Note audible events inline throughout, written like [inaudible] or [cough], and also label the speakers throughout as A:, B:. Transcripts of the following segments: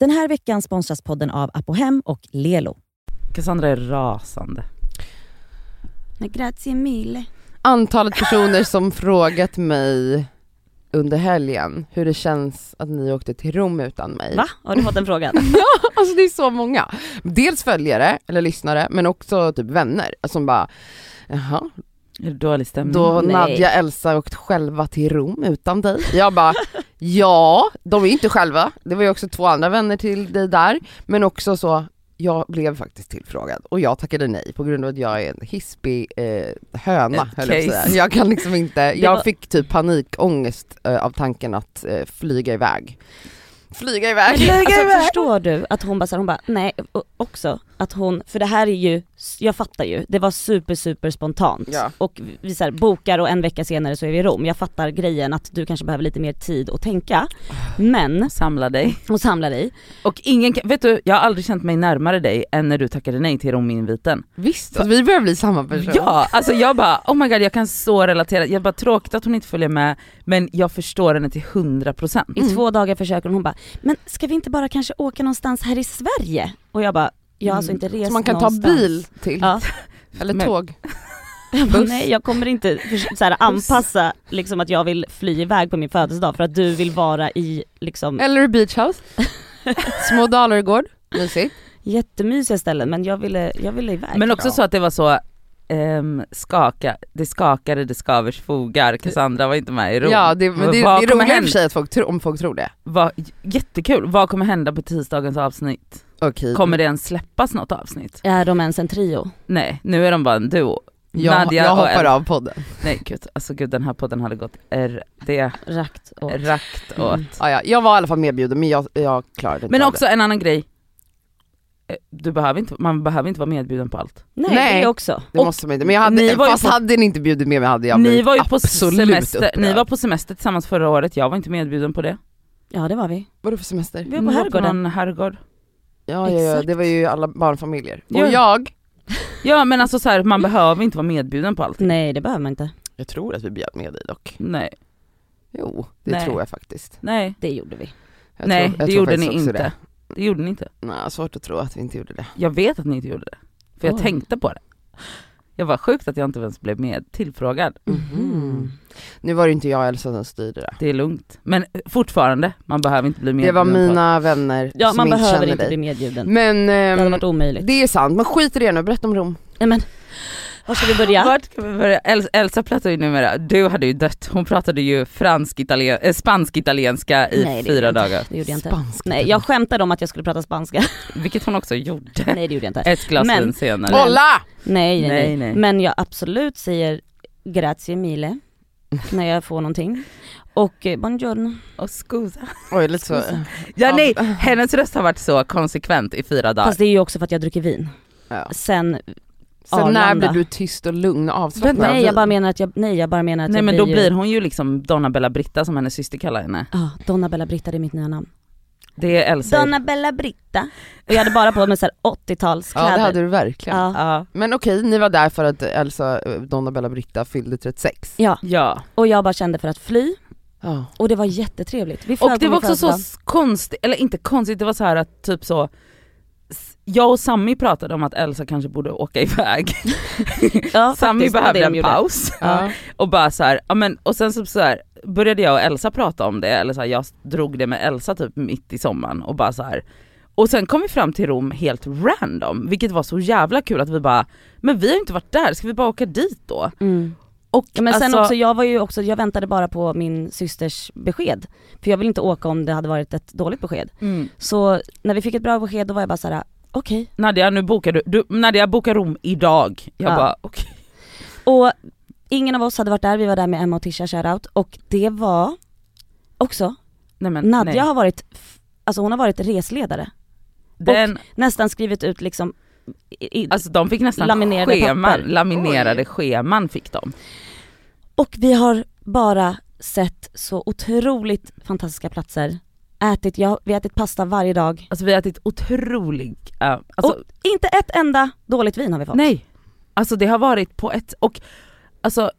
A: Den här veckan sponsras podden av Apohem och Lelo.
B: Cassandra är rasande.
C: Grazie mille.
D: Antalet personer som frågat mig under helgen hur det känns att ni åkte till Rom utan mig.
A: Va? Har du fått den [laughs] frågan?
D: Alltså det är så många. Dels följare eller lyssnare men också typ vänner som bara Jaha,
B: Är det dålig stämning?
D: då har
A: Nej.
D: Nadja och Elsa åkt själva till Rom utan dig. Jag bara, ja, de är ju inte själva. Det var ju också två andra vänner till dig där. Men också så, jag blev faktiskt tillfrågad och jag tackade nej på grund av att jag är en hispig eh, höna
B: Ett
D: höll jag på att
B: case.
D: säga. Jag kan liksom inte,
A: var-
D: jag fick typ panikångest eh, av tanken att eh, flyga iväg. Flyga iväg!
A: alltså, förstår du att hon bara, så här, hon bara nej och också att hon, för det här är ju, jag fattar ju, det var super super spontant
D: Ja.
A: och vi så här, bokar och en vecka senare så är vi i Rom. Jag fattar grejen att du kanske behöver lite mer tid att tänka men,
B: Samla dig.
A: och samla dig.
B: [laughs] Och ingen kan, vet du, jag har aldrig känt mig närmare dig än när du tackade nej till rominviten.
D: Visst, alltså, vi börjar bli samma person.
B: Ja, alltså jag bara oh my god jag kan så relatera, jag bara tråkigt att hon inte följer med men jag förstår henne till Mm. 100%.
A: I två dagar försöker hon, hon bara men ska vi inte bara kanske åka någonstans här i Sverige? Och jag bara jag har alltså inte rest
D: Mm. Så man kan ta
A: någonstans.
D: bil till,
A: Ja.
D: eller
B: Men-
D: tåg.
A: Jag bara, nej jag kommer inte för- så här, anpassa liksom att jag vill fly iväg på min födelsedag för att du vill vara i liksom
D: Eller beach house. Mm. [laughs] Små Dalargård, mysigt.
A: jättemysiga ställen men jag ville, jag ville iväg.
B: Men också så att det var så ehm, skaka, det skakade, det skavers fogar, Cassandra var inte med i Rom.
D: Ja det, men det, det
B: Vad
D: är
B: kommer
D: roligare i och för
B: hända?
D: sig att folk tror, om folk tror det.
B: Vad, jättekul, vad kommer hända på tisdagens avsnitt?
D: Okej.
B: Kommer det ens släppas något avsnitt?
A: Är de ens en trio?
B: Nej, nu är de bara en duo.
D: Jag,
B: Nadja
D: jag
B: och
D: hoppar
B: Elsa.
D: av podden.
B: Nej gud, alltså gud den här podden hade gått r- det
A: Rakt och...
B: rakt
A: Mm.
B: åt.
D: Ah, ja. Jag var i alla fall medbjuden men jag, jag klarade inte
B: Men
D: av
B: också en annan grej, Eh, du behöver inte, man behöver inte vara medbjuden på allt.
A: Nej,
D: Nej.
A: det också.
D: det. det
B: och
D: måste man inte. Men jag
B: ni
D: hade,
B: var ju
D: fast
B: på-
D: hade ni inte bjudit med mig hade jag
B: Ni
D: blivit
B: var ju på
D: absolut
B: semester,
D: upprörd.
B: ni var på semester tillsammans förra året, jag var inte medbjuden på det.
A: Ja det var vi.
D: Vadå för semester?
A: Vi var på herrgården.
B: någon herrgård.
D: Ja, ja, ja
A: Exakt.
D: det var ju alla barnfamiljer. Och
B: Ja.
D: jag,
B: Ja men alltså så här, man behöver inte vara medbjuden på allt.
A: Nej det behöver man inte.
D: jag tror att vi bjöd med dig dock.
B: Nej,
D: Jo, det
B: Nej.
D: tror jag faktiskt.
B: nej,
A: Det gjorde vi.
D: Jag
B: nej
D: tror, jag
B: det
D: tror
B: gjorde ni
D: faktiskt också
B: inte.
D: Det.
B: Det. gjorde ni inte.
D: Nej, svårt att tro att vi inte gjorde det.
B: Jag vet att ni inte gjorde det. För jag
A: Oj.
B: tänkte på det. Jag var sjukt att jag inte ens blev med tillfrågad.
D: Mhm. Nu var det inte jag och Elsa som styrde det.
B: Det är lugnt. Men fortfarande, man behöver inte bli
D: Det
B: medbjuden
D: var
B: på allt.
D: mina vänner
A: Ja
D: som
A: man
D: inte
A: behöver
D: känner
A: inte bli
D: dig.
A: medbjuden.
D: Men
A: Det
D: ehm,
A: hade varit omöjligt.
D: det är sant, men skit i det nu, berätta om Rom.
A: Nej men, var ska vi börja?
B: Vart ska vi börja? El- Elsa pratar ju numera, du hade ju dött, hon pratade ju fransk italien- äh, spansk-italienska
A: Nej,
B: i
A: det gjorde
B: fyra
A: jag inte.
B: dagar.
A: Det gjorde jag inte.
D: Spanska. typ.
A: Nej jag skämtade om att jag skulle prata
D: [laughs]
A: spanska.
B: Vilket hon också gjorde.
A: Nej det gjorde jag inte.
B: Ett glas
A: Men-
B: vin senare.
A: Men-
D: Kolla!
A: Nej nej, nej
B: Nej, nej.
A: Men jag absolut säger grazie
B: [laughs]
A: mille när jag får någonting. Och eh, buongiorno.
B: Och scusa.
D: Oj, lite så. eh,
B: Ja nej, hennes röst har varit så konsekvent i fyra dagar.
A: Fast det är ju också för att jag dricker vin.
D: Ja.
A: Sen,
D: Sen när
A: Arlanda.
D: blir du tyst och lugn och avslappnad?
A: nej jag bara menar att jag, nej jag bara menar att
B: alltså- nej
A: jag
B: men då
A: ju-
B: blir hon ju liksom Donna Bella Britta som hennes syster kallar henne.
A: Ja, Donna Bella Britta det är mitt nya namn.
B: Det är Elsa.
A: Donna Bella Britta. Och jag hade bara på
B: [laughs]
A: mig så här 80-talskläder.
D: Ja det hade du verkligen.
A: ja.
B: Ja.
D: Men okej, ni var där för att Elsa, eh, Donna Bella Britta fyllde 36.
A: ja,
B: ja.
A: och jag bara kände för att fly
D: Ja.
A: och det var jättetrevligt. Vi
B: Och
A: flög
B: det
A: på min
B: var också så
A: födelsedag.
B: s- konstigt, eller inte konstigt, det var så här att typ så s- jag och Sammy pratade om att Elsa kanske borde åka iväg.
A: ja,
B: Sammy
A: faktiskt, det var
B: behövde
A: det de
B: en
A: gjorde.
B: paus.
A: Ja.
B: Och bara så här, ja men och sen så, så här, började jag och Elsa prata om det, eller så här, jag drog det med Elsa typ mitt i sommaren och bara så här. Och sen kom vi fram till Rom helt random, vilket var så jävla kul att vi bara, men vi har ju inte varit där, ska vi bara åka dit då?
A: Mm.
B: Och
A: Ja, Men sen
B: alltså-
A: också, jag var ju också, jag väntade bara på min systers besked. För jag ville inte åka om det hade varit ett dåligt besked.
B: Mm.
A: Så när vi fick ett bra besked då var jag bara såhär, okej.
B: Nadja nu bokar du, du Nadja bokar Rom idag. Jag
A: Ja.
B: bara okej.
A: Och ingen av oss hade varit där, vi var där med Emma och Tisha shoutout. Och det var också,
B: Nej, men,
A: Nadja
B: nej.
A: har varit, f- alltså hon har varit resledare.
B: Den,
A: Nästan skrivit ut liksom i, i,
B: alltså de fick nästan
A: Laminerade
B: scheman,
A: papper.
B: laminerade scheman fick de.
A: Och vi har bara sett så otroligt fantastiska platser. Ätit, jag, vi har ätit pasta varje dag.
B: Alltså vi har ätit otroligt, äh, alltså,
A: och inte ett enda dåligt vin har vi fått.
B: nej. Alltså det har varit på ett, och alltså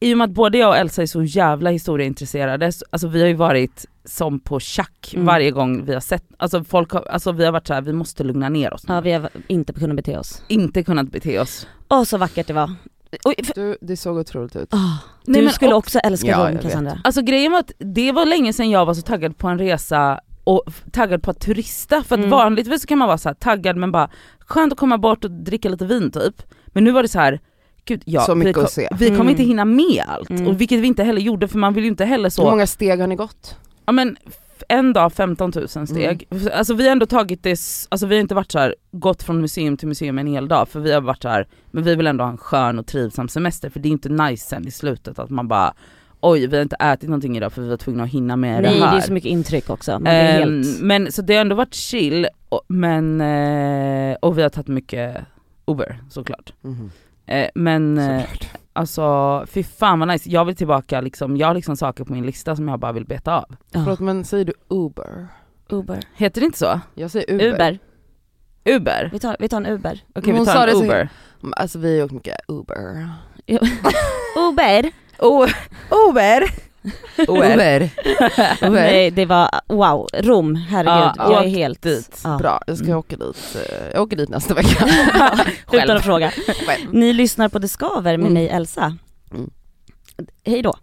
B: i och med att både jag och Elsa är så jävla historieintresserade, så, alltså vi har ju varit som på tjack
A: Mm.
B: varje gång vi har sett, alltså folk har, alltså vi har varit så här, vi måste lugna ner oss nu.
A: Ja vi har inte kunnat bete oss.
B: Inte kunnat bete oss.
A: Åh så vackert det var. Oj, för,
D: Du, det såg otroligt ut.
A: åh,
B: Nej,
A: du
B: men
A: skulle
B: och-
A: också älska
D: Ja, jag
A: Rom
D: vet.
A: Cassandra.
B: Alltså grejen var att det var länge sedan jag var så taggad på en resa och f- taggad på att turista för att
A: Mm.
B: vanligtvis så kan man vara så här taggad men bara skönt att komma bort och dricka lite vin typ. Men nu var det så här gud ja,
D: Så
B: vi,
D: mycket
B: kom,
D: att se.
B: vi kommer
A: Mm.
B: inte hinna med allt.
A: Mm.
B: Och vilket vi inte heller gjorde för man vill ju inte heller
D: Hur
B: så,
D: många steg har ni gått?
B: ja men f- en dag 15 000 steg.
A: Mm.
B: Alltså vi har ändå tagit det, s- alltså vi har inte varit så här gått från museum till museum en hel dag för vi har varit så här men vi vill ändå ha en skön och trivsam semester för det är inte nice sen i slutet att man bara oj vi har inte ätit någonting idag för vi var tvungna att hinna med
A: Nej
B: det
A: det
B: här.
A: är så mycket intryck också. Man blir
B: Ehm,
A: helt...
B: Men så det har ändå varit chill och, men, eh, och vi har tagit mycket Uber såklart. Eh, men eh,
D: Mm-hmm. Såklart.
B: alltså fy fan vad nice, jag vill tillbaka liksom, jag har liksom saker på min lista som jag bara vill beta av.
A: Ja.
D: Förlåt men säger du Uber?
A: Uber.
B: Heter det inte så?
D: Jag säger Uber.
A: Uber.
B: Uber?
A: Vi tar, vi tar en Uber.
B: Okej
D: Hon
B: vi
D: sa
B: tar
D: det
B: en
D: så-
B: Uber.
D: Men Alltså vi har ju åkt mycket Uber.
A: Uber!
B: Oh, Uber! Uber.
A: Nej det var, wow, Rom, herregud.
B: Ja,
A: jag
B: åk
A: är helt...
B: dit.
A: Ja.
D: Bra, jag ska
B: Mm.
D: åka dit. eh, Jag åker dit nästa [laughs] vecka.
B: Själv.
A: [laughs] Utan att fråga.
D: Själv.
A: Ni lyssnar på Det Skaver med
D: Mm.
A: mig Elsa.
D: Mm.
A: Hej då.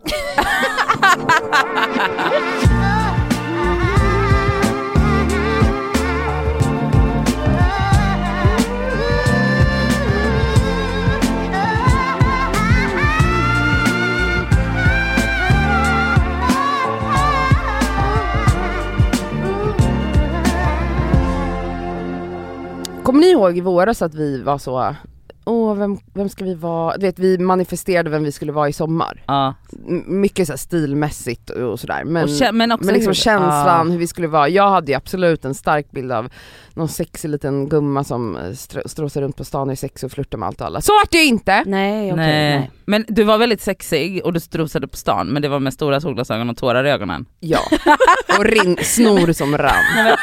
D: Kommer ni ihåg i våras att vi var så, åh vem, vem ska vi vara? Du vet vi manifesterade vem vi skulle vara i sommar.
B: Ja.
D: M- mycket så här stilmässigt och och sådär. Men,
B: Och kä- men också
D: men liksom
B: hur-
D: känslan,
B: ja.
D: hur vi skulle vara. Jag hade ju absolut en stark bild av någon sexig liten gumma som eh, str- stråsar runt på stan i sex och flörtar med allt och alla. Så vart det inte!
A: Nej okej.
B: nej.
A: nej.
B: Men du var väldigt sexig och du strosade på stan men det var med stora solglasögon och tårar i ögonen.
D: Ja. Och rin- snor som [laughs] rann.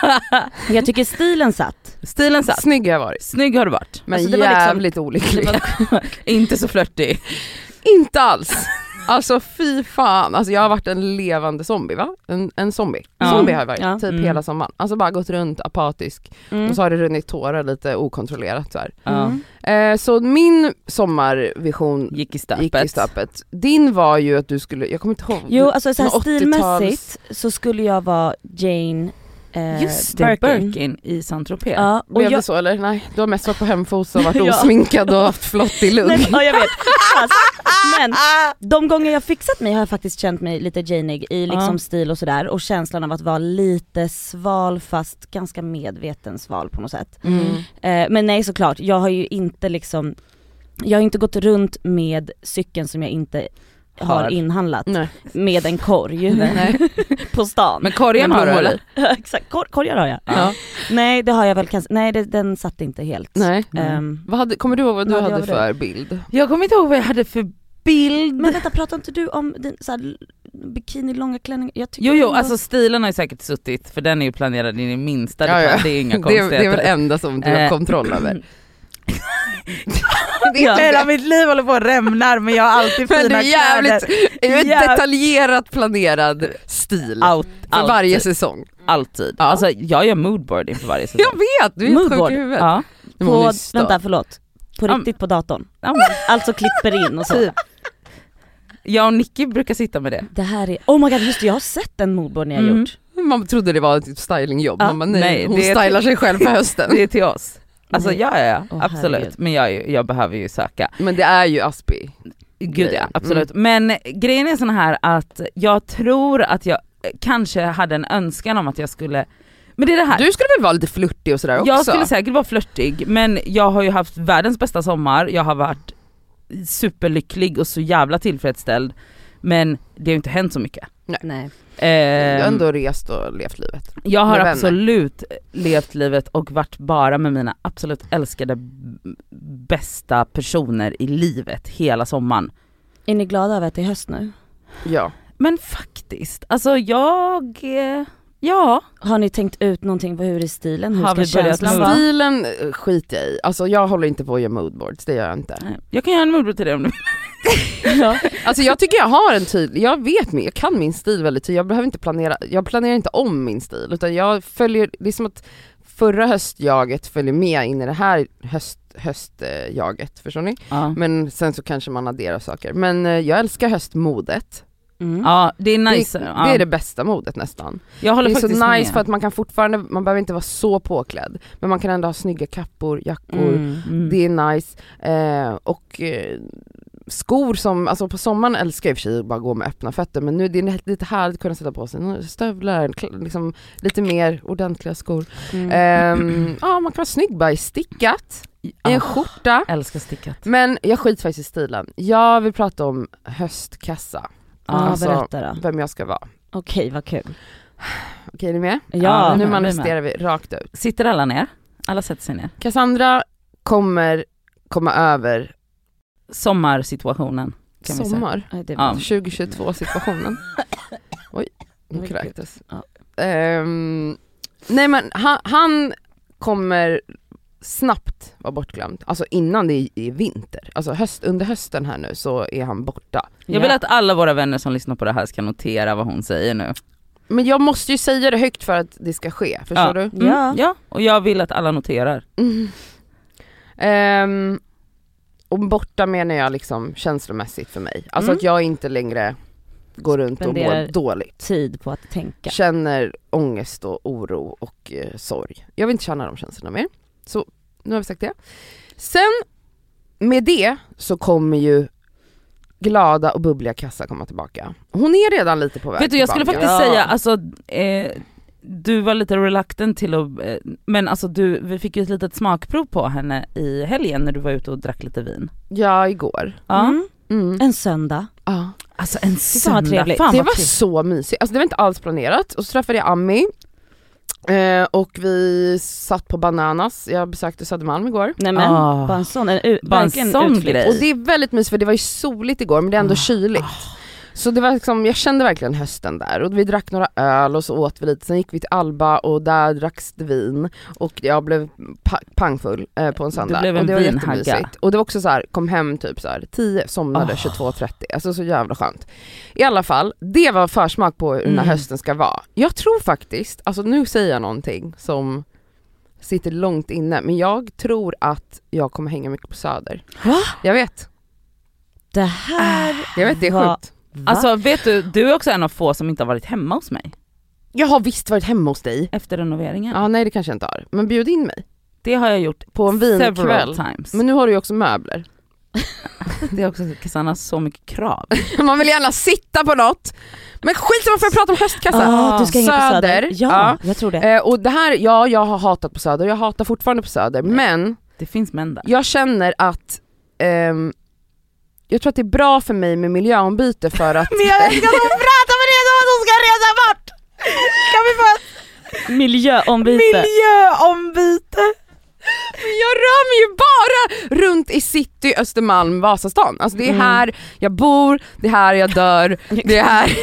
A: Jag tycker stilen satt.
B: Stilen satt,
D: Snygg har jag varit.
B: snygg har du varit.
D: Men
A: Alltså, det var liksom-
D: jävligt olycklig.
B: Inte så flörtig.
D: Inte alls! Alltså fy fan, alltså, jag har varit en levande zombie va? En, en zombie.
B: Ja.
D: Zombie har jag varit,
A: Ja.
D: typ
B: Mm.
D: hela sommaren. Alltså bara gått runt apatisk
A: Mm.
D: och så har det runnit tårar lite okontrollerat så här.
B: Ja.
A: Mm.
D: Eh, så min sommarvision
B: Gick i stöpet.
D: gick i stöpet. Din var ju att du skulle, jag kommer inte ihåg.
A: Jo alltså så här
D: 80-tals
A: stilmässigt så skulle jag vara Jane eh,
B: Just det, Birkin, i Saint Tropez.
A: Ja, och
D: Blev
A: jag,
D: det så eller? Nej, du har mest varit på
A: [laughs]
D: hemfot och varit
A: Ja.
D: osminkad och haft flottig
A: [laughs]
D: lugg.
A: nej, ja jag vet.
B: [laughs]
A: Fast, men de gånger jag fixat mig har jag faktiskt känt mig lite Janeig i liksom
B: Ja.
A: stil och sådär och känslan av att vara lite sval fast ganska medveten sval på något sätt.
B: Mm.
A: Eh, men nej såklart, jag har ju inte liksom, jag har inte gått runt med cykeln som jag inte har
B: Har. Mm.
A: inhandlat
D: Nej.
A: med en
B: [laughs]
A: korg på stan.
B: Men korgen
D: Men
B: har du
D: blommor
B: eller?
A: [laughs] Exakt, kor- korgar har jag.
D: Ja.
A: Nej det har jag väl kanske, nej det, den satt inte helt.
D: Nej.
A: Ehm,
D: Vad hade, kommer du ihåg vad du
A: Vad hade
D: hade
A: jag för
D: för bild?
B: Jag kommer inte ihåg vad jag hade för bild.
A: men vänta pratar inte du om din så här, l- bikini långa klänning? Jag tycker
B: jo jo,
A: ändå-
B: alltså stilen har ju säkert suttit för den är ju planerad in i minsta
D: Ja,
B: detalj,
D: ja.
B: det är inga
D: [laughs] Det, är- det är väl
B: konstigheter.
D: det enda som du har
B: Eh. [laughs]
D: kontroll över. Det är
B: Hela
D: det.
B: mitt liv håller på och rämnar men jag har alltid
D: Men du
B: fina
D: är jävligt
B: kläder.
D: det är ju
B: Jäv-
D: en detaljerat planerad stil
B: Out,
D: för
B: alltid.
D: varje säsong.
B: alltid.
D: Ja.
B: Alltså jag gör moodboard inför varje säsong.
D: Jag vet, du är helt sjuk
A: Moodboard.
D: i huvudet.
B: Ja.
D: Men hon är
A: på,
D: ju star.
A: vänta förlåt, på
B: Ja,
A: riktigt på datorn.
B: Ja, men
A: Alltså klipper in och så.
B: typ. Jag och Nicky brukar sitta med det.
A: Det här är, oh my god just det, jag har sett en moodboard ni har
B: Mm.
A: gjort.
D: Man trodde det var ett typ stylingjobb,
A: Ja,
D: man bara, nej,
B: nej,
D: hon
B: det är- typ-
D: stylar sig själv
B: [laughs]
D: på hösten.
B: Det är till oss. Alltså
A: Nej.
B: ja, ja, ja.
A: Åh,
B: absolut.
A: herregud.
B: Men jag, är ju- jag behöver ju söka.
D: Men det är ju Aspi. Mm.
B: Gud
D: grejer.
B: ja, absolut. Men grejen är sån här att jag tror att jag eh, kanske hade en önskan om att jag skulle, men det är det här.
D: Du skulle väl vara lite flörtig och sådär också?
B: jag skulle säkert vara flörtig men jag har ju haft världens bästa sommar, jag har varit superlycklig och så jävla tillfredsställd. Men det har ju inte hänt så mycket.
A: Nej.
D: Du har
B: Ehm,
D: ändå rest och levt livet.
B: Jag har
D: Med vänner.
B: absolut levt livet och varit bara med mina absolut älskade b- bästa personer i livet hela sommaren.
A: Är ni glada över att det är höst nu?
D: Ja.
B: Men faktiskt, alltså jag, eh, ja.
A: Har ni tänkt ut någonting på hur i stilen, hur
B: Har
A: ska
B: vi börjat
A: känslan
B: med
A: vara?
D: Stilen eh, skiter jag i, alltså jag håller inte på att göra moodboards, det gör jag inte.
B: Jag kan göra en moodboard till dig om du vill. [laughs]
D: Ja. Alltså jag tycker jag har en tydlig, jag vet min, jag kan min stil väldigt tydligt, jag behöver inte planera, jag planerar inte om min stil utan jag följer, det är som att förra höstjaget följer med in i det här höst, höstjaget, förstår ni?
B: Ja.
D: Men sen så kanske man adderar saker. Men eh, jag älskar höstmodet.
A: Mm.
B: ja det är nice.
D: det,
B: ja.
D: det är det bästa modet nästan.
B: jag håller
D: det är så
B: faktiskt
D: nice
B: med.
D: för att man kan fortfarande, man behöver inte vara så påklädd, men man kan ändå ha snygga kappor, jackor,
B: Mm.
D: det är nice. Eh, och eh, skor som, alltså på sommaren älskar jag i och för sig att bara gå med öppna fötter men nu det är nä- lite härligt att kunna sätta på sig några stövlar, kl- liksom lite mer ordentliga skor.
A: Mm.
B: Eh,
D: Ehm, Ja man kan vara snygg bara i stickat, i en
B: Ja,
D: skjorta.
B: älskar stickat.
D: Men jag skiter faktiskt i stilen. Jag vill prata om höstkassa,
A: ja
D: alltså-
A: berätta då.
D: vem jag ska vara.
A: Okej vad kul.
D: Okej är ni med?
A: Ja,
B: men vi
D: nu
B: är med.
D: manifesterar vi rakt ut.
B: Sitter alla ner? Alla sätter sig ner.
D: Cassandra kommer komma över
B: Sommarsituationen. Kan vi säga.
D: sommar.
A: Ja, det
B: Ja.
A: var...
D: 2022 situationen. Oj, nu
A: Oj,
D: kräktes.
A: gud.
D: Ehm, nej men han, han kommer snabbt vara bortglömd, alltså innan det är, är vinter. Alltså höst, under hösten här nu så är han borta.
B: Jag vill att alla våra vänner som lyssnar på det här ska notera vad hon säger nu.
D: Men jag måste ju säga det högt för att det ska ske, förstår du?
A: Ja.
B: ja, och jag vill att alla noterar.
D: Mm. [laughs] Ehm, och borta menar jag liksom känslomässigt för mig. Alltså
A: Mm.
D: att jag inte längre går runt och
A: Spenderar-
D: mår dåligt.
A: tid på att tänka.
D: känner ångest och oro och eh, sorg. Jag vill inte känna de känslorna mer. Så nu har vi sagt det. Sen med det så kommer ju glada och bubbliga Kassa komma tillbaka. Hon är redan lite på väg
B: Vet du jag skulle
D: tillbaka.
B: faktiskt
A: Ja.
B: säga, alltså eh, du var lite reluctant till att, eh, men alltså du, vi fick ju ett litet smakprov på henne i helgen när du var ute och drack lite vin.
D: Ja, igår.
B: Ja.
A: Mm.
D: Mm.
A: En söndag.
D: Ja.
B: Alltså
A: fan
B: en
A: vad
B: söndag,
A: trevligt.
B: fan
D: det
B: Ah, vad
D: var
B: trevligt.
D: så mysigt, alltså det var inte alls planerat. Och så träffade jag Ami eh, och vi satt på Bananas, jag besökte Södermalm igår.
A: Nej men,
B: Ah.
A: bara en sån, en, u-
B: Bara en
A: eh, verkligen
B: sån
A: utflykt.
B: grej.
D: Och det är väldigt mysigt för det var ju soligt igår men det är ändå
B: Ah.
D: kyligt. Så det var liksom, jag kände verkligen hösten där och vi drack några öl och så åt vi lite, sen gick vi till Alba och där dracks det vin och jag blev pa- pangfull eh, på en söndag.
B: blev en
D: och det var
B: vinhagga.
D: jättemysigt. Och det var också så här, kom hem typ så här 10, somnade
B: Ah.
D: 22.30, alltså så jävla skönt. I alla fall, det var försmak på hur den här
B: Mm.
D: hösten ska vara. Jag tror faktiskt, alltså nu säger jag någonting som sitter långt inne, men jag tror att jag kommer hänga mycket på Söder.
A: Va?
D: Jag vet,
A: Det här,
D: jag vet det är
A: Va?
D: sjukt.
A: va?
B: Alltså vet du, du är också en av få som inte har varit hemma hos mig
D: Jag har visst varit hemma hos dig.
B: efter renoveringen.
D: Ja nej det kanske jag inte har, men bjud in mig
B: Det har jag gjort
D: på en
B: several
D: vinkväll.
B: times.
D: Men nu har du ju också möbler. [laughs]
B: det [laughs] är också Cassandra så mycket krav.
D: Man vill gärna sitta på något. Men skit i varför jag pratar om höstkassa.
A: ah, du ska hänga på Söder? Ja,
D: Ja.
A: jag tror det.
D: Eh, och det här, ja jag har hatat på Söder, jag hatar fortfarande på Söder, men
B: Det finns män där.
D: jag känner att ehm, jag tror att det är bra för mig med miljöombyte för [laughs] att...
B: Men jag älskar att hon pratar med det som att hon ska resa bort! Kan vi få ett
A: Miljöombyte.
B: miljöombyte?
D: jag rör mig ju bara runt i city, Östermalm, Vasastan. Alltså det är
A: Mm.
D: här jag bor, det är här jag [laughs] dör, det är här,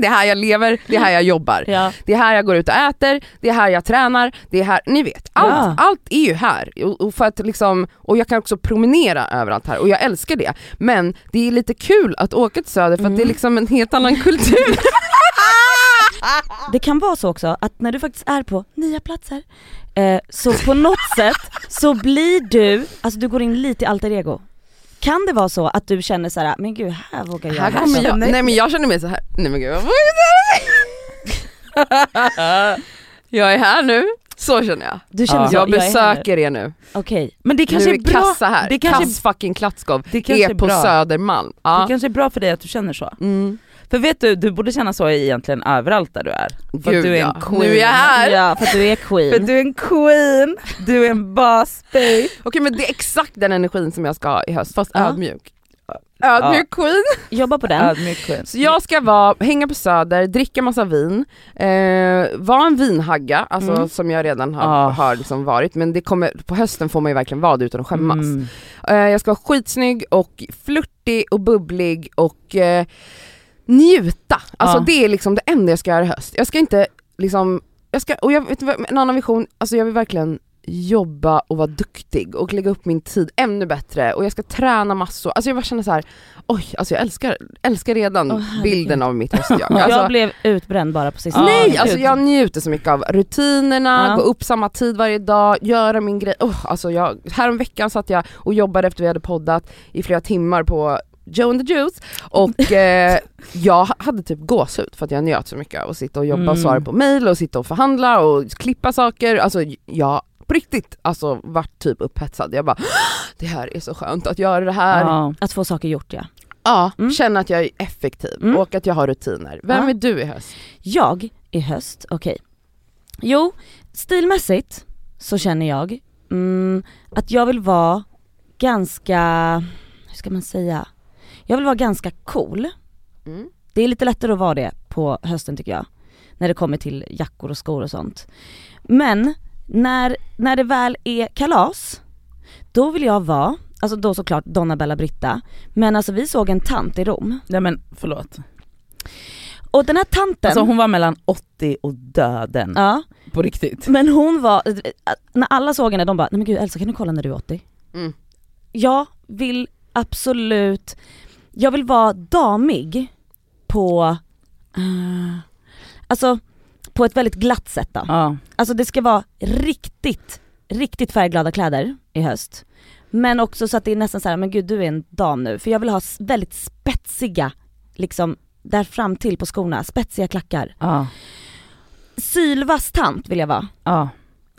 D: det är här jag lever, det är här jag jobbar.
A: ja.
D: Det är här jag går ut och äter, det är här jag tränar, det är här, ni vet. Allt,
A: Ja.
D: allt är ju här. Och, och, för att liksom, och jag kan också promenera överallt här och jag älskar det. Men det är lite kul att åka till Söder för att det är liksom en helt annan [laughs] kultur.
A: Det kan vara så också att när du faktiskt är på nya platser, eh, så på
D: [laughs]
A: något sätt så blir du, alltså du går in lite i alter ego. Kan det vara så att du känner så här, men gud här vågar jag
D: här
A: vara
D: kommer
A: så."
D: jag, nej men jag känner mig så här. nej men gud
B: [laughs]
D: vad Jag är här nu, så känner jag.
A: Du känner så,
D: Jag
A: är här
D: besöker er nu.
A: nu." Okej,
B: Men det kanske
D: nu
B: är,
D: är
B: bra.
D: Kassa här,
B: Det kanske,
D: Kass fucking Klatskov
B: det kanske
D: är
B: är
D: på
B: bra.
D: Södermalm.
B: det
D: Ja.
B: kanske är bra för dig att du känner så.
D: Mm.
B: För vet du, du borde känna så egentligen överallt där du är. För att
D: Gud,
B: du är
D: ja.
B: en queen.
D: Nu är jag här!
A: ja för att du är
B: För
A: queen.
B: du är en queen, du är en boss babe.
D: Okej men det är exakt den energin som jag ska ha i höst, fast
A: Ja.
D: ödmjuk. Ödmjuk queen.
A: Jobba på den.
B: Ödmjuk queen.
D: Så jag ska vara, hänga på Söder, dricka massa vin, eh, vara en vinhagga, alltså
A: Mm.
D: som jag redan har,
B: Ah.
D: har liksom varit, men det kommer, på hösten får man ju verkligen vara det utan att skämmas.
B: Mm.
D: Eh, jag ska vara skitsnygg och flörtig och bubblig och eh, njuta. Alltså
B: Ja.
D: det är liksom det enda jag ska göra i höst. Jag ska inte liksom, jag ska, och jag vet du vad, en annan vision, alltså jag vill verkligen jobba och vara duktig och lägga upp min tid ännu bättre och jag ska träna massor. Alltså jag bara känner så här, oj, alltså jag älskar, älskar redan
A: Åh, herregud.
D: bilden av mitt
A: [laughs]
D: höstjag.
A: jag
D: Alltså,
A: blev utbränd bara på sistone.
D: Nej,
B: Ja,
D: alltså
B: gud.
D: jag njuter så mycket av rutinerna,
A: Ja.
D: gå upp samma tid varje dag, göra min grej. Oh, alltså jag, häromveckan satt jag och jobbade efter vi hade poddat i flera timmar på Joe and the Juice och eh, jag hade typ gåshud för att jag njöt så mycket av att sitta och jobba och
B: Mm.
D: svara på mail och sitta och förhandla och klippa saker. Alltså jag på riktigt alltså vart typ upphetsad. Jag bara det här är så skönt att göra det här. Ja,
B: Ja.
A: Att få saker gjort ja.
B: Mm.
D: känna att jag är effektiv
A: Mm.
D: och att jag har rutiner. Vem
A: Ja.
D: är du i höst?
A: Jag i höst, okej. Jo, stilmässigt så känner jag mm, att jag vill vara ganska, hur ska man säga? Jag vill vara ganska cool.
D: Mm.
A: Det är lite lättare att vara det på hösten tycker jag. När det kommer till jackor och skor och sånt. Men när, när det väl är kalas, då vill jag vara, alltså då såklart Donna Bella Britta, men alltså vi såg en tant i Rom.
B: Nej men förlåt.
A: Och den här tanten,
B: Alltså hon var mellan 80 och döden.
A: ja,
B: På riktigt.
A: men hon var, när alla såg henne de bara, nej men gud Elsa kan du kolla när du är 80?
D: Mm.
A: Jag vill absolut, jag vill vara damig på, eh, alltså på ett väldigt glatt sätt då.
B: Ja.
A: Alltså det ska vara riktigt, riktigt färgglada kläder i höst. Men också så att det är nästan så här, men gud du är en dam nu. För jag vill ha s- väldigt spetsiga, liksom där fram till på skorna, spetsiga klackar.
B: Ja.
A: Sylvass tant vill jag vara,
B: ja.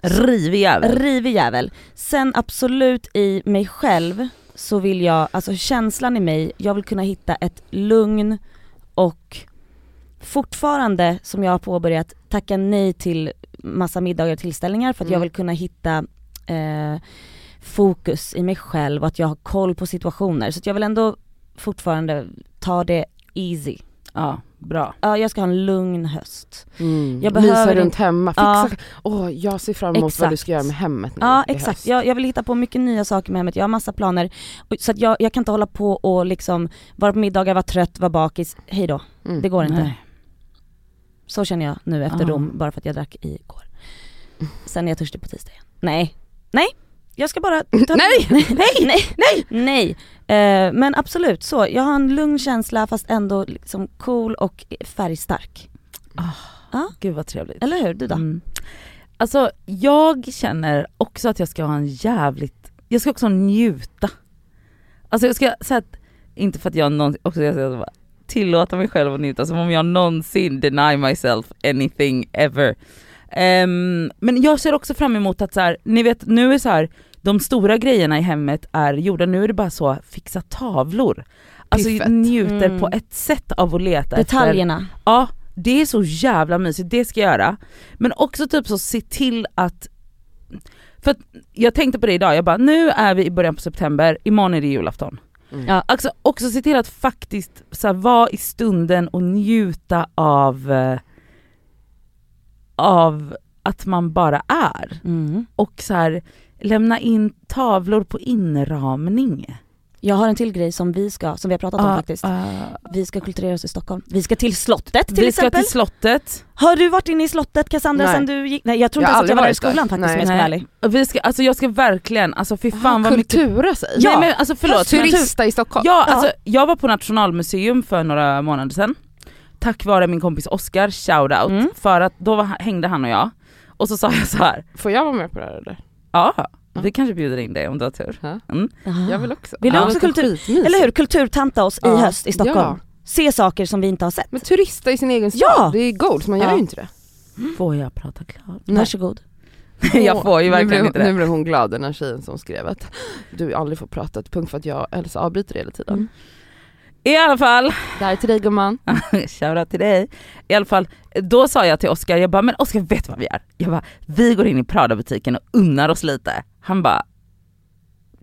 B: Rivig jävel.
A: rivig jävel. Sen absolut i mig själv så vill jag, alltså känslan i mig, jag vill kunna hitta ett lugn och fortfarande som jag har påbörjat tacka nej till massa middagar och tillställningar för att jag
D: Mm.
A: vill kunna hitta eh, fokus i mig själv och att jag har koll på situationer. Så att jag vill ändå fortfarande ta det easy.
B: Ja, bra.
A: Ja, jag ska ha en lugn höst.
D: Mm.
A: Jag
D: Mysa
A: behöver
D: runt hemma,
A: Ja.
D: fixa. Åh, jag ser fram emot vad du
A: Exakt.
D: ska göra med hemmet nu
A: Ja
D: i
A: exakt,
D: höst.
A: jag, jag vill hitta på mycket nya saker med hemmet, jag har massa planer. Och- Så att jag, jag kan inte hålla på och liksom vara på middagar, vara trött, vara bakis, hej då.
D: Mm.
A: Det går inte.
B: Nej.
A: Så känner jag nu efter
B: Ah.
A: Rom, bara för att jag drack igår. Sen är jag törstig på tisdag igen. Nej, nej, jag ska bara ta
D: Nej!
A: nej, [laughs] nej, nej, nej. Eh, men absolut så, jag har en lugn känsla fast ändå liksom cool och färgstark.
B: Gud vad trevligt.
A: Eller hur, du då?
B: Mm. Alltså jag känner också att jag ska ha en jävligt, jag ska också njuta. Alltså jag ska säga att, inte för att jag någonsin, också jag ska bara tillåta mig själv att njuta som om jag någonsin deny myself anything ever. Ehm, men jag ser också fram emot att så här, ni vet nu är så här, de stora grejerna i hemmet är gjorda, nu är det bara så fixa tavlor. Alltså
D: Piffet.
B: njuter
A: Mm.
B: på ett sätt av att leta efter
A: Detaljerna.
B: Ja, det är så jävla mysigt, det ska jag göra. Men också typ så se till att, för att jag tänkte på det idag, jag bara nu är vi i början på september, imorgon är det julafton.
D: Mm.
A: Ja.
B: Också, också se till att faktiskt så här, vara i stunden och njuta av, eh, av att man bara är.
A: Mm.
B: Och så här, lämna in tavlor på inramning.
A: Jag har en till grej som vi ska, som vi har pratat om
B: Ja,
A: faktiskt.
B: ja.
A: Vi ska kulturera oss i Stockholm. Vi ska till slottet till
B: vi ska
A: exempel.
B: till slottet.
A: Har du varit inne i slottet Cassandra
D: Nej.
A: sen du gick? Nej jag tror
D: Jag
A: inte
D: har
A: ens att jag var
D: aldrig
A: där i
D: varit där.
A: skolan faktiskt
D: Nej.
A: om jag ska vara ärlig.
B: Vi ska, alltså jag ska verkligen, alltså
A: Ah,
B: fy fan
D: Fan,
B: vad mycket...
D: kultura sig.
B: Ja, Nej men alltså förlåt. men-
D: turista i Stockholm.
B: ja,
A: Ja.
B: alltså, jag var på Nationalmuseum för några månader sedan. Tack vare min kompis Oscar, shoutout.
A: Mm.
B: För att då var, hängde han och jag. Och så sa jag så här.
D: Får jag vara med på det här eller?
B: ja
D: Mm.
B: vi kanske bjuder in dig om du har tur.
D: Jag vill också.
A: Vill du
D: Ja,
A: också
D: det ska
A: kultur-
D: skitmysigt.
A: Eller hur, kulturtanta oss
D: Ja.
A: i höst i Stockholm.
D: Ja.
A: Se saker som vi inte har sett.
D: Men turista i sin egen stad,
A: Ja.
D: det är gold, man gör
A: Ja. [laughs]
D: ju inte det.
B: Får jag prata klart?
D: Nej.
A: Varsågod.
B: jag får ju
D: Åh, nu
B: verkligen
D: blev,
B: inte det.
D: Nu blev hon glad den här tjejen som skrev att du aldrig får prata ett punkt för att jag och Elsa avbryter hela tiden.
A: Mm.
B: I alla fall,
D: Det här är till dig gumman.
B: [laughs] Shoutout till dig. I alla fall, då sa jag till Oskar, jag bara men Oskar vet vad vi gör? Jag bara, vi går in i Prada-butiken och unnar oss lite. Han bara,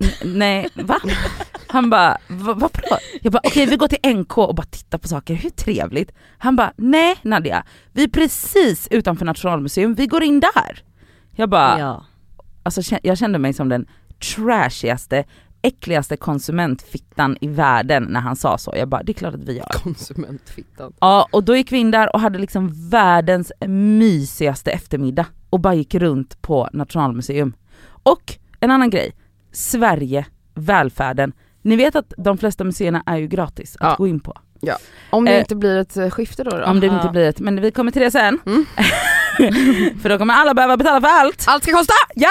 B: "N- nej va? Han bara, "Va- vad vadå? Jag bara okej vi går till NK och bara tittar på saker, hur trevligt? Han bara, nej Nadia, vi är precis utanför Nationalmuseum, vi går in där. Jag bara,
A: Ja.
B: alltså kä- jag kände mig som den trashigaste äckligaste konsumentfittan i världen när han sa så. Jag bara, det är klart att vi gör.
D: Konsumentfittan.
B: Ja och då gick vi in där och hade liksom världens mysigaste eftermiddag och bara gick runt på Nationalmuseum. Och en annan grej, Sverige, välfärden. Ni vet att de flesta museerna är ju gratis att
D: Ja.
B: gå in på.
D: Om det
B: Eh,
D: inte blir ett eh, skifte då? då?
B: Om det
A: Aha.
B: inte blir ett, men vi kommer till det sen.
D: Mm.
B: [laughs] För då kommer alla behöva betala för allt.
D: Allt ska kosta!
B: Ja!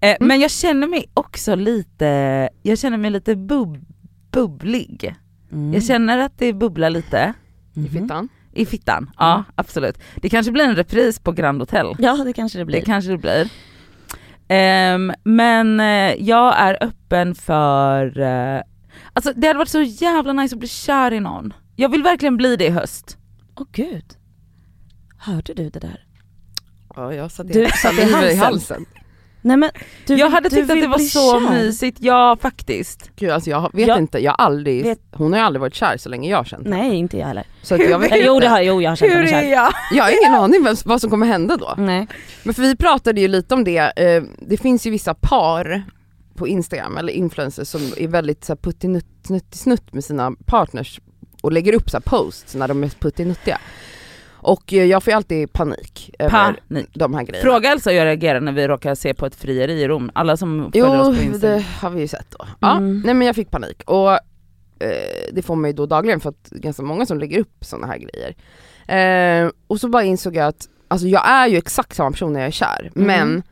B: Eh, Men jag känner mig också lite, jag känner mig lite bub- bubblig.
A: Mm.
B: Jag känner att det bubblar lite
D: I fittan.
B: i fittan. Ja absolut. Det kanske blir en repris på Grand Hotel.
A: Ja det kanske det blir.
B: Det kanske det blir. Ehm, men eh, jag är öppen för, eh, alltså det hade varit så jävla nice att bli kär i någon. Jag vill verkligen bli det i höst.
A: Åh gud. Hörde du det där?
D: Ja, jag satte
A: Du satte i halsen. Nej men du
B: jag
A: vill-
B: hade
A: du
B: tyckt att
A: vill
B: det var
A: bli
B: så
A: kär.
B: mysigt, ja faktiskt.
D: Gud alltså jag vet
A: Jag-
D: inte, jag har aldrig,
A: Vet-
D: hon har ju aldrig varit kär så länge jag har känt henne.
A: Nej inte jag heller.
D: Så att jag [laughs] vet
A: Nej,
D: inte.
A: jo det har jo, jag har känt mig
B: Hur är
A: kär.
B: jag?
D: Jag Mm. har ingen aning vem, vad som kommer hända då.
A: Nej.
D: Men för vi pratade ju lite om det, eh, det finns ju vissa par på Instagram eller influencers som är väldigt så här puttinutt- snutt- snutt med sina partners och lägger upp så här posts när de är puttinuttiga. Och eh, jag får ju alltid panik över
B: Panik.
D: de här grejerna.
B: Fråga Elsa hur jag reagerar när vi råkar se på ett frieri i Rom, alla som följer
D: Jo,
B: oss på Instagram.
D: det har vi ju sett då. Ja,
A: Mm.
D: nej men jag fick panik och eh, det får man ju då dagligen för att det är ganska många som lägger upp sådana här grejer. Eh, och så bara insåg jag att, alltså jag är ju exakt samma person när jag är kär,
A: Mm.
D: men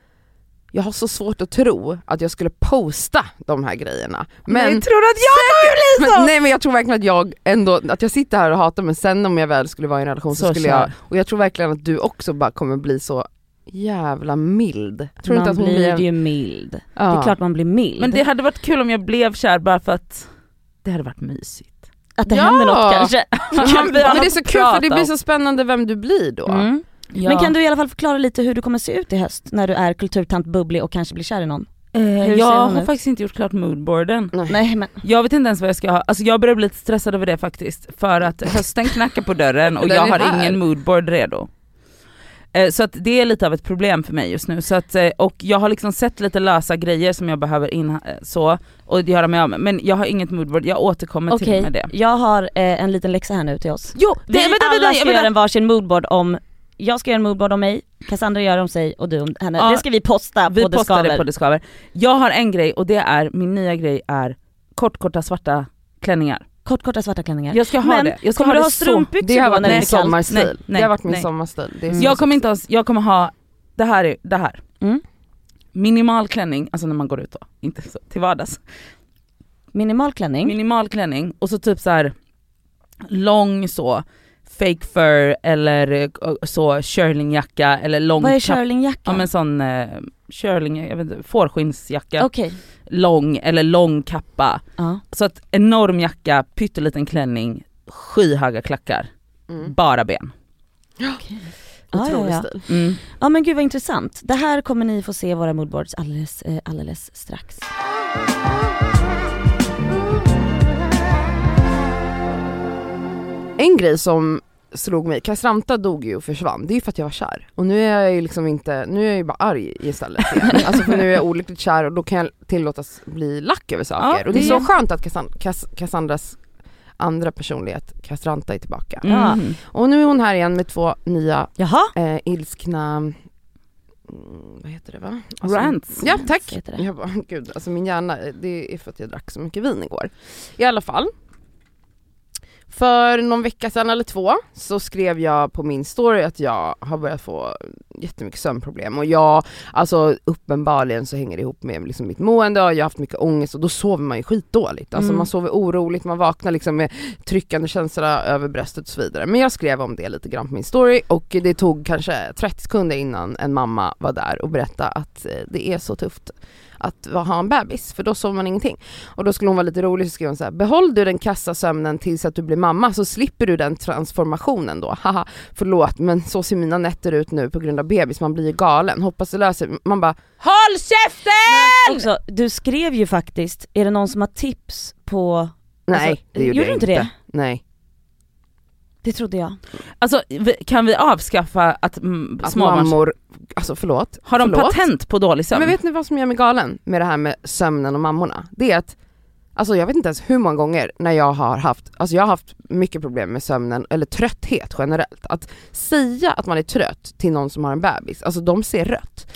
D: jag har så svårt att tro att jag skulle posta de här grejerna. Men,
B: Nej, tror du att jag kommer bli så?
D: men, nej men jag tror verkligen att jag ändå, att jag sitter här och hatar men sen om jag väl skulle vara i en relation så,
B: Så
D: skulle jag,
B: kär.
D: och jag tror verkligen att du också bara kommer bli så jävla mild. Tror du
A: man
D: inte att hon
A: blir
D: blir...
A: ju mild.
D: Ja.
A: Det är klart man blir mild.
B: Men det hade varit kul om jag blev kär bara för att det hade varit mysigt.
A: Att det
D: Ja!
A: händer något kanske.
B: Kan vi ha
D: men det är
B: något
D: så
B: att
D: kul för det
B: prata
D: blir
B: om?
D: så spännande vem du blir då.
A: Mm.
B: Ja.
A: Men kan du i alla fall förklara lite hur du kommer se ut i höst när du är kulturtant bubblig och kanske blir kär i någon?
B: Eh,
A: Hur
B: jag
A: ser hon
B: har
A: ut?
B: faktiskt inte gjort klart moodboarden.
A: [laughs] Nej men
B: Jag vet inte ens vad jag ska ha, alltså jag börjar bli lite stressad över det faktiskt. För att hösten knackar på dörren
A: [laughs]
B: och
D: Den
B: jag
D: är
B: har
D: här.
B: ingen moodboard redo. Eh, Så att det är lite av ett problem för mig just nu. Så att, eh, och jag har liksom sett lite lösa grejer som jag behöver in eh, så, och göra mig av med. Men jag har inget moodboard, jag återkommer
A: okej,
B: till med det.
A: jag har eh, en liten läxa här nu till oss.
B: Jo,
A: Vi alla ska göra en varsin moodboard om, jag ska göra en moodboard om mig, Cassandra gör om sig och du om henne.
B: Ja,
A: det ska vi posta
B: Vi
A: på The
B: postar det på
A: Skaver.
B: det skaver. Jag har en grej och det är, min nya grej är kortkorta svarta klänningar.
A: Kort, korta svarta klänningar.
B: Jag ska ha
A: Men
B: det. Jag ska
A: kommer du
B: det
A: ha
B: så-
A: strumpbyxor
D: Det har
A: då
D: varit
A: när det
D: min
A: är kallt?
D: sommarstil.
B: Nej, nej,
D: det har varit min
B: nej.
D: sommarstil. Det är
A: Mm.
D: så-
B: Jag kommer inte ens, jag kommer ha, det här är, det här.
A: Mm.
B: Minimal klänning, alltså när man går ut då, inte så, till vardags.
A: Minimal klänning.
B: Minimal klänning och så typ så här lång så, fake fur eller eh, så curlingjacka eller lång
A: Vad är
B: kapp- Ja
A: curlingjackan?
B: men sån eh, curling, jag vet inte, fårskinnsjacka,
A: Okej.
B: lång eller lång kappa.
A: Ja.
B: Så att enorm jacka, pytteliten klänning, skyhöga klackar,
D: Mm.
B: bara ben.
A: Ja, ja,
D: Otrolig
A: ja.
D: stil.
B: Mm.
A: ja men gud vad intressant. Det här kommer ni få se i våra moodboards alldeles, eh, alldeles strax.
D: En grej som slog mig, Kastranta dog ju och försvann, det är ju för att jag var kär. Och nu är jag ju liksom inte, nu är jag ju bara arg istället igen. Alltså för nu är jag olyckligt kär och då kan jag tillåtas bli lack över saker.
B: Ja,
D: och det är
B: det-
D: så skönt att Cassan- Cass- Cassandras andra personlighet, Castranta, är tillbaka.
B: Mm.
A: Ja.
D: Och nu är hon här igen med två nya
A: Jaha,
D: eh, ilskna, mm, vad heter det va?
A: Alltså,
D: Alltså,
B: Rants.
D: Ja
A: Rants
D: tack!
A: heter det.
D: Jag bara, gud alltså min hjärna, eh, det är för att jag drack så mycket vin igår. I alla fall. För någon vecka sedan eller två så skrev jag på min story att jag har börjat få jättemycket sömnproblem och jag, alltså uppenbarligen så hänger det ihop med liksom mitt mående och jag har haft mycket ångest och då sover man ju skitdåligt. Alltså
A: Mm.
D: man sover oroligt, man vaknar liksom med tryckande känsla över bröstet och så vidare. Men jag skrev om det lite grann på min story och det tog kanske 30 sekunder innan en mamma var där och berättade att eh, det är så tufft att va- ha en bebis för då sover man ingenting. Och då skulle hon vara lite rolig så skrev hon så här: behåll du den kassa sömnen tills att du blir mamma så slipper du den transformationen då. [laughs] Haha, förlåt men så ser mina nätter ut nu på grund av bebis, man blir ju galen. Hoppas det löser Man bara,
B: Håll käften!
A: också, du skrev ju faktiskt, är det någon som har tips på,
D: nej
A: Alltså,
D: det
A: gjorde
D: gjorde, jag
A: du inte
D: inte.
A: det?
D: Nej.
A: det trodde jag.
B: Alltså vi- kan vi avskaffa att, mm,
D: Att
B: småbarns...
D: mammor, alltså förlåt.
B: Har de
D: förlåt.
B: patent på dålig sömn?
D: Men vet ni vad som gör mig galen med det här med sömnen och mammorna? Det är att alltså jag vet inte ens hur många gånger när jag har haft, alltså jag har haft mycket problem med sömnen eller trötthet generellt. Att säga att man är trött till någon som har en bebis, alltså de ser rött.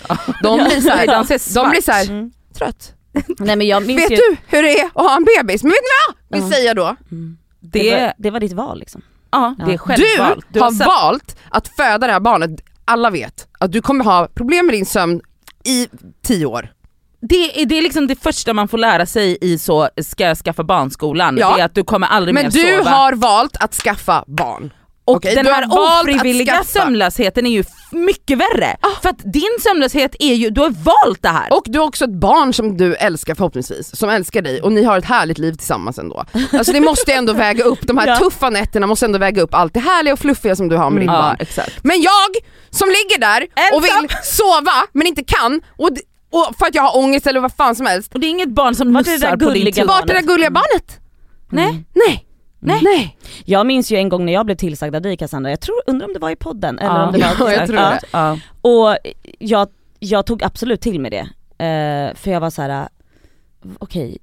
D: De blir såhär,
B: De ser
D: de
B: svart.
D: blir såhär
A: Mm.
D: trött.
A: Nej men jag minns
D: Vet
A: ju...
D: du hur det är att ha en bebis? Men vet ni vad vi
A: Ja.
D: säger då?
A: Mm. Det, var,
B: det,
A: det var ditt val liksom.
B: ja, det är
A: Ja.
D: Du,
B: självvalt.
D: har valt att föda det här barnet, alla vet att du kommer ha problem med din sömn i tio år.
B: det, är, det är liksom det första man får lära sig i så, ska jag skaffa barnskolan,
D: Ja.
B: det är att du kommer aldrig
D: Men
B: mer
D: du
B: sova.
D: har valt att skaffa barn.
B: Och
D: Okej,
B: den
D: du
B: här
D: har valt att
B: ofrivilliga
D: skaffa. Ah.
B: sömnlösheten är ju f- mycket värre. För att din sömnlöshet är ju, du har valt det här.
D: Och du har också ett barn som du älskar förhoppningsvis, som älskar dig och ni har ett härligt liv tillsammans ändå. Alltså det måste ändå väga upp, de här
A: Ja.
D: tuffa nätterna måste ändå väga upp allt det härliga och fluffiga som du har med ditt
B: Mm. ja,
D: barn.
B: exakt.
D: Men jag som ligger där och
B: Ensam.
D: vill sova men inte kan och, d- och för att jag har ångest eller vad fan som helst.
B: Och det är inget barn som
A: Vart är det
B: nussar
A: där
B: på din
A: gulliga
B: tur.
A: barnet?
D: Vart är det där gulliga barnet?
B: Nej.
D: Nej. Nej. Nej.
A: Jag minns ju en gång när jag blev tillsagd av dig Cassandra, jag tror, undrar om det var i podden eller om det var
D: [laughs] Ja, jag tror det.
B: Ja.
A: Och jag, jag tog absolut till mig det. Eh, för jag var så här. eh, okej.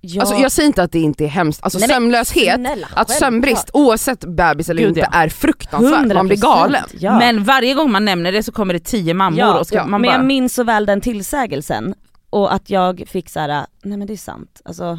A: jag...
D: Alltså jag säger inte att det inte är hemskt, alltså
A: Nej, men
D: sömnlöshet,
A: snälla,
D: att sömnbrist oavsett bebis eller
B: Gud,
D: inte
B: ja.
D: är fruktansvärt, man blir
A: 100%,
D: galen.
A: Ja.
B: Men varje gång man nämner det så kommer det tio mammor
A: Ja,
B: och ska,
D: ja.
B: man
A: men
B: bara...
A: jag minns så väl den tillsägelsen och att jag fick så här: nej men det är sant. Alltså,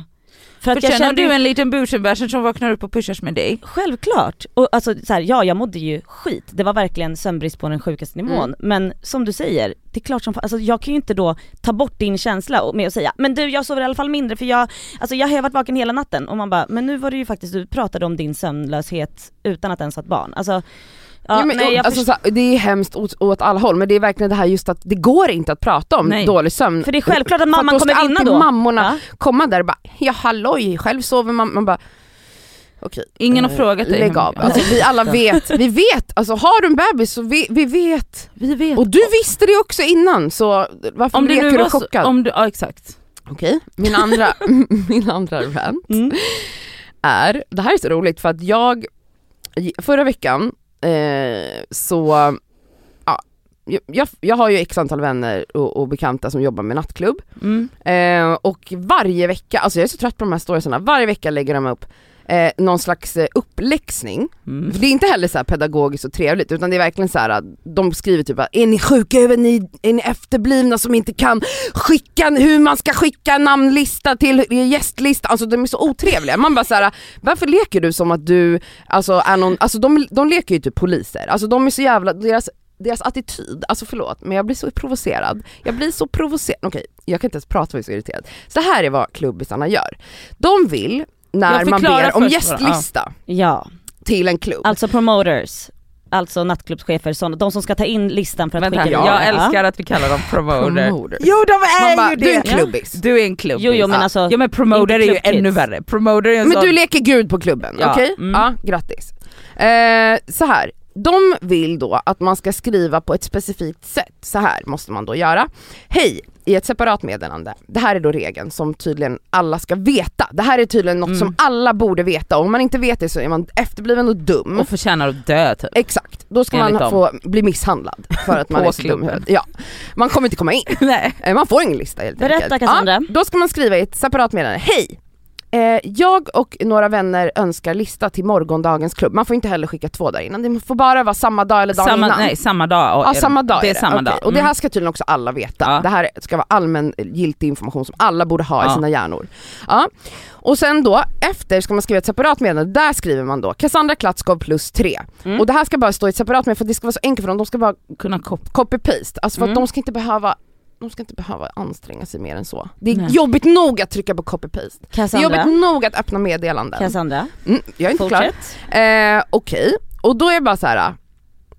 A: för att jag
B: för sen har
A: kände
B: du
A: ju,
B: en liten busenbärsen som vaknar upp och pushas med dig.
A: självklart, och alltså så här, ja jag mådde ju skit, det var verkligen sömnbrist på den sjukaste nivån.
D: Mm.
A: Men som du säger, det är klart som fa- alltså, jag kan ju inte då ta bort din känsla och- med att säga men du jag sover i alla fall mindre för jag, alltså jag har varit vaken hela natten och man bara, men nu var det ju faktiskt, du pratade om din sömnlöshet utan att ens ha ett barn. Alltså, ja,
D: jo, men,
A: nej, jag
D: alltså,
A: förstår-
D: så här, det är hemskt åt, åt alla håll men det är verkligen det här just att det går inte att prata om
B: Nej.
D: dålig sömn.
A: för det är självklart att
D: För
A: mamman
D: då ska
A: kommer vinna
D: alltid
A: då.
D: mammorna
A: Ja.
D: komma där och bara ja halloj, själv sover man, man bara okej.
B: Ingen har
D: eh,
B: frågat dig.
D: Lägg av. Alltså, vi alla vet, vi vet, alltså har du en bebis så vi, vi vet.
B: Vi vet.
D: Och du visste det också innan så varför
B: om det
D: leker
B: nu
D: du
B: var så,
D: chockad?
B: om du, ja exakt.
D: Okej, min andra,
B: [laughs]
D: min andra rant
A: Mm.
D: är, det här är så roligt för att jag, förra veckan eh, så, ja, jag, jag har ju x antal vänner och, och bekanta som jobbar med nattklubb
B: Mm.
D: eh, och varje vecka, alltså jag är så trött på de här storiesarna, varje vecka lägger de upp eh, någon slags eh, uppläxning.
B: Mm.
D: För det är inte heller så här pedagogiskt och trevligt utan det är verkligen så här att de skriver typ att är ni sjuka över ni, är ni efterblivna som inte kan skicka, hur man ska skicka namnlista till gästlista, alltså de är så otrevliga. Man bara så här, äh, varför leker du som att du, alltså är någon, alltså de, de leker ju typ poliser, alltså de är så jävla, deras deras attityd, alltså förlåt men jag blir så provocerad. Jag blir så provocerad, okej jag kan inte ens prata för jag är så irriterad. Så här är vad klubbisarna gör. De vill när
B: Jag
D: man
B: förklarar
D: ber om
B: först bara, ja.
D: gästlista
A: Ja,
D: till en klubb.
A: alltså promoters, alltså nattklubbschefer, såna, de som ska ta in listan för att
B: Vänta,
A: skicka
B: jag
A: vidare.
B: älskar att vi kallar dem promoter.
D: Promoter.
B: Jo de
D: Man
B: är
D: bara,
B: ju
D: du är en
B: det!
D: klubbis.
B: Du är en klubbis.
A: Jo, jo men
B: Ja.
A: alltså,
B: ja men promoter är
A: inte
B: ju
A: klubbkids.
B: ännu värre. Promoter är en
D: Men
B: sån...
D: du leker gud på klubben,
B: Ja,
D: okej?
B: mm.
D: Ja, grattis. Eh, så här. De vill då att man ska skriva på ett specifikt sätt. Så här måste man då göra. Hej! I ett separat meddelande. Det här är då regeln som tydligen alla ska veta. Det här är tydligen något
B: Mm.
D: som alla borde veta och om man inte vet det så är man efterbliven och dum.
B: Och förtjänar att
A: [laughs]
B: dö typ.
D: Exakt, då ska
B: Enligt
D: man få bli misshandlad för att man
B: På
D: är så dum i
B: klubben.
D: huvudet. Ja. Man kommer inte komma in.
B: Nej.
D: Eh, Man får ingen lista helt
A: Berätta,
D: enkelt.
A: Cassandra.
D: Ja, då ska man skriva i ett separat meddelande. Hej! Eh, jag och några vänner önskar lista till morgondagens klubb. Man får inte heller skicka två dagar innan. Det får bara vara samma dag eller dagen
B: Samma,
D: innan.
B: nej, samma dag.
D: Ja, samma dag
B: Det är samma
D: Okej,
B: dag.
D: Och det
B: Mm.
D: här ska tydligen också alla veta.
B: Ja.
D: Det här ska vara allmän giltig information som alla borde ha i
B: Ja.
D: sina hjärnor. Ja. Och sen då, efter ska man skriva ett separat meddelande. Där skriver man då Cassandra Klatskov plus tre.
A: Mm.
D: Och det här ska bara stå i ett separat meddelande för att det ska vara så enkelt för dem. De ska bara
B: Mm. kunna koppla.
D: copy-paste. Alltså för att
A: Mm.
D: de ska inte behöva de ska inte behöva anstränga sig mer än så. Det är
B: Nej.
D: jobbigt nog att trycka på copy-paste. Det är
A: Cassandra,
D: jobbigt nog att öppna meddelanden.
A: Cassandra,
D: Mm, jag är inte klar.
A: fortsätt.
D: Eh, Okej, och då är jag bara så här.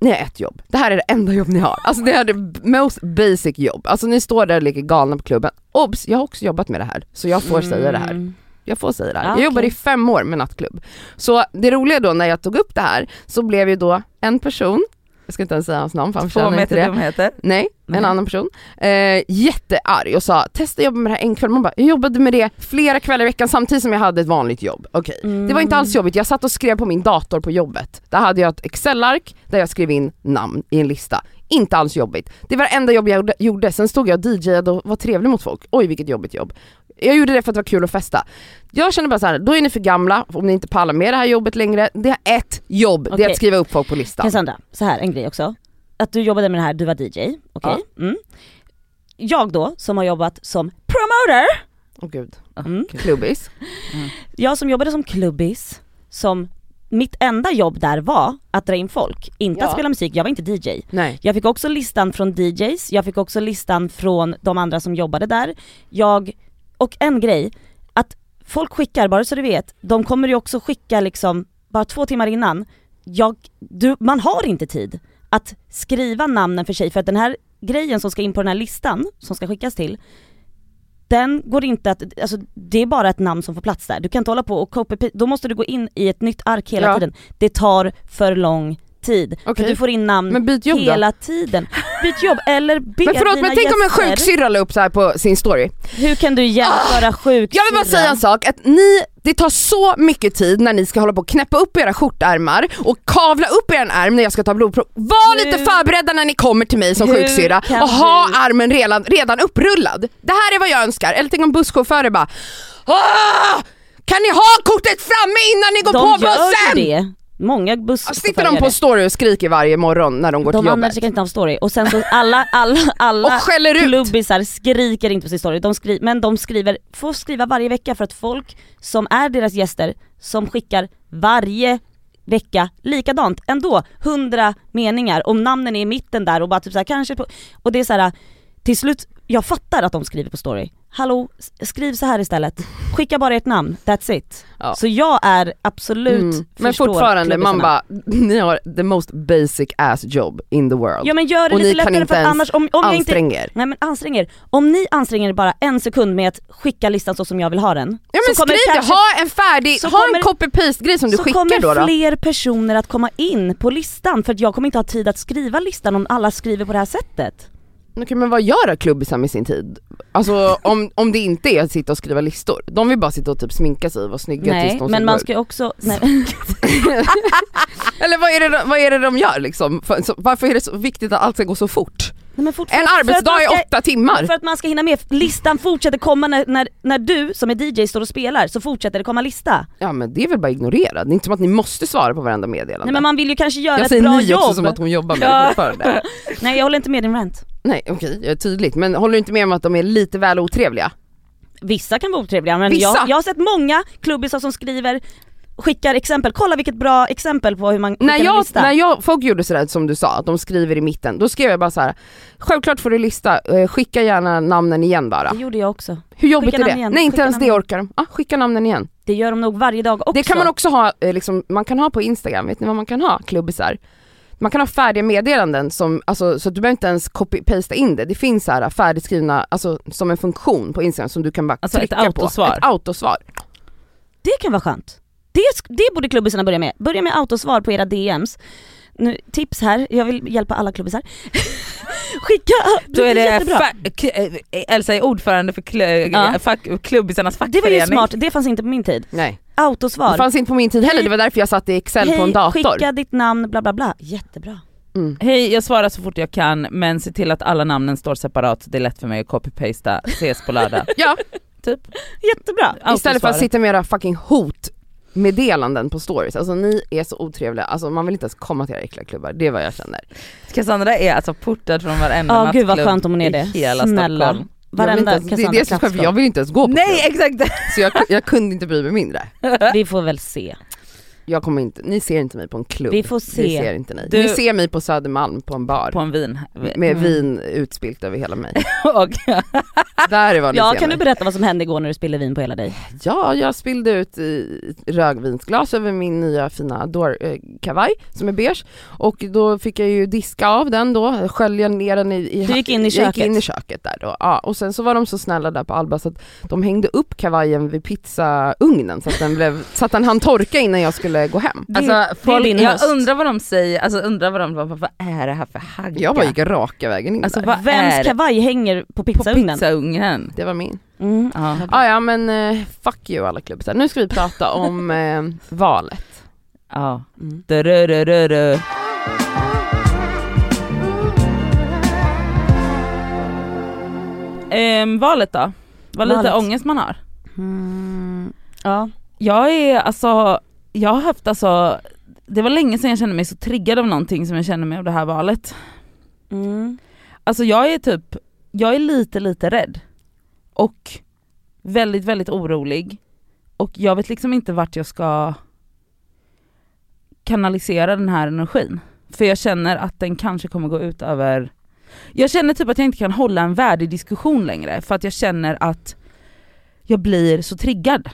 D: Ni har ett jobb, det här är det enda jobb ni har. Alltså det här är det most basic jobb. Alltså ni står där och leker galna på klubben. Obs, jag har också jobbat med det här så jag får säga det här
A: Mm.
D: jag får säga det här.
A: Ja,
D: jag
A: okej.
D: jobbade i fem år med nattklubb. Så det roliga då när jag tog upp det här så blev ju då en person, jag ska inte ens säga hans namn för han
B: Två
D: förtjänar inte
B: meter
D: det.
B: dumheter.
D: Nej,
B: Nej.
D: en annan person. Eh, jättearg och sa testa jobba med det här en kväll. Man bara, jag jobbade med det flera kvällar i veckan samtidigt som jag hade ett vanligt jobb. Okej. Det var inte alls jobbigt, jag satt och skrev på min dator på jobbet. Där hade jag ett Excel-ark där jag skrev in namn i en lista. Inte alls jobbigt. Det var det enda jobb jag gjorde- gjorde, sen stod jag och DJade och var trevlig mot folk. Oj vilket jobbigt jobb. Jag gjorde det för att det var kul att festa. Jag känner bara så här, då är ni för gamla om ni inte pallar med det här jobbet längre. Det är ett jobb, det är
A: Okej.
D: att skriva upp folk på listan.
A: Mm. Cassandra, så här en grej också. Att du jobbade med det här, du var DJ, okej? Mm. Jag då, som har jobbat som promoter,
D: Åh gud,
A: Mm.
B: Gud.
D: klubbis.
A: jag som jobbade som klubbis, som mitt enda jobb där var att dra in folk, inte
D: Ja.
A: att spela musik, jag var inte DJ.
D: Nej.
A: Jag fick också listan från DJs, jag fick också listan från de andra som jobbade där. Jag, och en grej, att folk skickar, bara så du vet, de kommer ju också skicka liksom bara två timmar innan. Jag, du, man har inte tid att skriva namnen för sig för att den här grejen som ska in på den här listan, som ska skickas till, den går inte att, alltså det är bara ett namn som får plats där. Du kan inte hålla på och copy, då måste du gå in i ett nytt ark hela
D: Ja.
A: tiden. Det tar för lång tid.
D: Okej.
A: För du får in namn
D: Men byt jobb då.
A: hela tiden. Byt jobb eller be
D: Men förlåt
A: dina
D: men tänk om en
A: gäster-
D: sjuksyrra la upp så här på sin story.
A: Hur kan du jämföra sjuksyrra?
D: Ah! Jag vill bara säga en sak, att ni, det tar så mycket tid när ni ska hålla på och knäppa upp era skjortärmar och kavla upp er ärm när jag ska ta blodprov. Var
A: Hur-
D: lite förberedda när ni kommer till mig som
A: Hur
D: sjuksyrra
A: kan
D: och ha
A: du-
D: armen redan, redan upprullad. Det här är vad jag önskar. Eller tänk om busschaufförer bara "Åh! Kan ni ha kortet framme innan ni går
A: De
D: på
A: gör ju
D: bussen?
A: det. Många buss
D: Sitter de på story och skriker varje morgon när de går
A: De
D: till
A: använder
D: jobbet?
A: sig inte av story och sen så alla, alla, alla
D: [laughs] Och skäller ut.
A: klubbisar skriker inte på sin story, de skri- men de skriver, får skriva varje vecka för att folk som är deras gäster som skickar varje vecka likadant ändå, hundra meningar om namnen är i mitten där och bara typ såhär kanske på, och det är såhär till slut, jag fattar att de skriver på story. Hallå, s- skriv så här istället. Skicka bara ert namn, that's it.
D: Ja.
A: Så jag är absolut
D: Mm. Men
A: förstår
D: fortfarande, man
A: klubbisarna.
D: bara, [laughs] ni har the most basic ass job in the world.
A: Ja men gör det
D: Och ni
A: lite
D: kan
A: lättare
D: inte
A: för att
D: ens
A: annars om, om jag inte
D: Ansträng er.
A: Nej men ansträng er. Om ni anstränger er bara en sekund med att skicka listan så som jag vill ha den.
D: Ja men
A: så
D: skriv det,
A: kanske-
D: ha en färdig,
A: så
D: ha en
A: kommer-
D: copy-paste grej som du
A: så
D: skickar
A: kommer
D: då. då.
A: fler personer att komma in på listan för att jag kommer inte ha tid att skriva listan om alla skriver på det här sättet.
D: Okej, men vad gör då klubbisar med sin tid? Alltså om, om det inte är att sitta och skriva listor. De vill bara sitta och typ sminka sig och vara snygga tills
A: nej
D: de
A: men man
D: går
A: ska ju
D: [laughs]
A: också, nej,
D: ut. Eller vad är, det, de- vad är det de gör liksom? För, så, varför är det så viktigt att allt ska gå så fort?
A: nej men fortfarande.
D: En
A: för att man
D: arbetsdag
A: ska-
D: är åtta timmar.
A: För att man ska hinna med, listan fortsätter komma när, när, när du som är DJ står och spelar så fortsätter det komma lista.
D: Ja men det är väl bara att ignorera, det är inte som att ni måste svara på varenda meddelande.
A: Nej men man vill ju kanske göra
D: jag
A: ett
D: säger
A: bra
D: ni
A: jobb.
D: också som att hon jobbar
A: [laughs]
D: med det
A: Ja.
D: fortfarande.
A: Nej jag håller inte med din rant.
D: Nej okej, jag är tydligt. Men håller du inte med om att de är lite väl otrevliga?
A: Vissa kan vara otrevliga men
D: Vissa?
A: jag, jag har sett många klubbisar som skriver, skickar exempel, kolla vilket bra exempel på hur man skickar
D: när
A: en
D: jag,
A: lista.
D: när jag, folk gjorde sådär som du sa, att de skriver i mitten, då skrev jag bara så här: självklart får du lista, eh, skicka gärna namnen igen bara.
A: Det gjorde jag också.
D: Hur jobbigt
A: Skicka
D: är det?
A: namn igen,
D: Nej inte
A: skicka
D: ens
A: namn
D: det
A: igen.
D: orkar de. Ah, skicka namnen igen.
A: Det gör de nog varje dag också.
D: Det kan man också ha, eh, liksom, man kan ha på Instagram, vet ni vad man kan ha? Klubbisar. Man kan ha färdiga meddelanden som, alltså, så att du behöver inte ens copy-pasta in det. Det finns så här färdigskrivna, alltså som en funktion på Instagram som du kan bara
B: Alltså, ett
D: klicka på.
B: autosvar.
D: Ett autosvar.
A: Det kan vara skönt. Det, sk- det borde klubbisarna börja med. Börja med autosvar på era DMs. Nu, tips här, jag vill hjälpa alla klubbisar. [laughs] Skicka,
B: Då är det
A: jättebra.
B: fa- k- eh, Elsa är ordförande för kl- eh,
A: Ja.
B: fack- klubbisarnas
A: Det var
B: fackförening.
A: ju smart, det fanns inte på min tid.
D: Nej, det
A: Autosvar.
D: fanns inte på min tid heller, det var därför jag satt i Excel på en dator.
A: skicka ditt namn bla bla bla. Jättebra. [laughs]
D: Mm.
B: Hej, jag svarar så fort jag kan men se till att alla namnen står separat. Det är lätt för mig att copy-pasta. Ses på lördag.
D: Ja,
B: typ.
A: Jättebra.
D: Istället för att
B: Autosvaret.
D: sitta med era fucking hotmeddelanden på stories. Alltså ni är så otrevliga, alltså man vill inte ens komma till era äckliga klubbar. Det är vad jag känner.
B: [laughs] Cassandra är alltså portad från varenda
A: Ja,
B: nattklubb
A: gud, vad skönt om hon är
B: i
A: det.
B: hela
A: Snälla.
B: Stockholm.
A: Varenda
D: jag vill inte ens,
A: Cassandra
D: det är det som är för
A: Kraftskog.
D: jag vill inte ens gå på
B: Nej
D: klubb.
B: exakt!
D: Så jag, jag kunde inte bry mig mindre.
A: Vi får väl se.
D: Jag kommer inte, ni ser inte mig på en klubb.
A: Vi får
D: Det
A: se.
D: ser inte ni.
B: Du-
D: Ni ser mig på Södermalm på en bar.
B: [laughs] På en [laughs] vin.
D: Med
A: Mm.
D: vin utspilt över hela mig.
B: Och,
D: Där är vad ni
A: Ja
D: ser
A: kan du
D: mig.
A: berätta vad som hände igår när du spillde vin på hela dig?
D: Ja, jag spillde ut i rödvinsglas över min nya fina dår, eh, kavaj som är beige och då fick jag ju diska av den då, skölja ner den i, i
A: Du gick in i
D: Jag gick
A: köket.
D: in i köket där då. Ja, och sen så var de så snälla där på Alba så att de hängde upp kavajen vid pizzaugnen så att den, blev, så att den hann torka innan jag skulle gå hem.
B: alltså, folk,
A: din
B: jag
A: höst.
B: undrar vad de säger, alltså undrar vad de, vad, vad är det här för hagga?
D: Jag bara gick raka vägen in
B: alltså
D: där.
B: vad är
A: Vems
B: det?
A: kavaj hänger på
B: På
A: pizzaugnen?
B: pizzaugnen.
D: Det var min.
A: Mm.
B: Ja.
D: Ah, ja men eh, fuck you alla klubbisar. Nu ska vi prata om eh, valet.
B: Ja.
A: Mm.
B: Dururururu. Ehm, valet då? Vad lite
A: Valet.
B: ångest man har?
A: Mm, ja.
B: Jag är alltså, jag har haft alltså, det var länge sedan jag kände mig så triggad av någonting som jag kände mig av det här valet.
A: Mm.
B: Alltså jag är typ, jag är lite lite rädd. Och väldigt väldigt orolig. Och jag vet liksom inte vart jag ska kanalisera den här energin. För jag känner att den kanske kommer gå ut över... Jag känner typ att jag inte kan hålla en värdig diskussion längre för att jag känner att jag blir så triggad.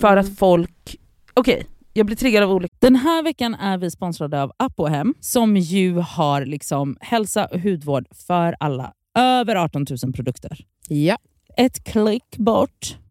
B: För
A: Mm.
B: att folk... Okej, jag blir triggad av olika... Den här veckan är vi sponsrade av Apohem som ju har liksom hälsa och hudvård för alla. Över 18 000 produkter
D: Ja.
B: ett klick bort.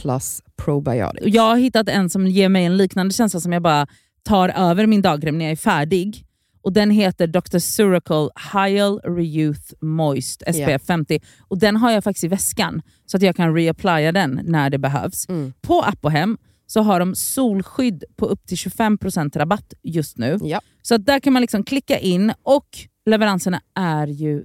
D: Plus Probiotics.
B: Jag har hittat en som ger mig en liknande känsla som jag bara tar över min dagkräm när jag är färdig. Och Den heter Dr. Suracle Hyal Reyouth Moist SPF
D: Ja.
B: 50. Och Den har jag faktiskt i väskan så att jag kan reapplya den när det behövs.
D: Mm.
B: På app och hem så har de solskydd på upp till 25% rabatt just nu.
D: Ja.
B: Så att där kan man liksom klicka in och leveranserna är ju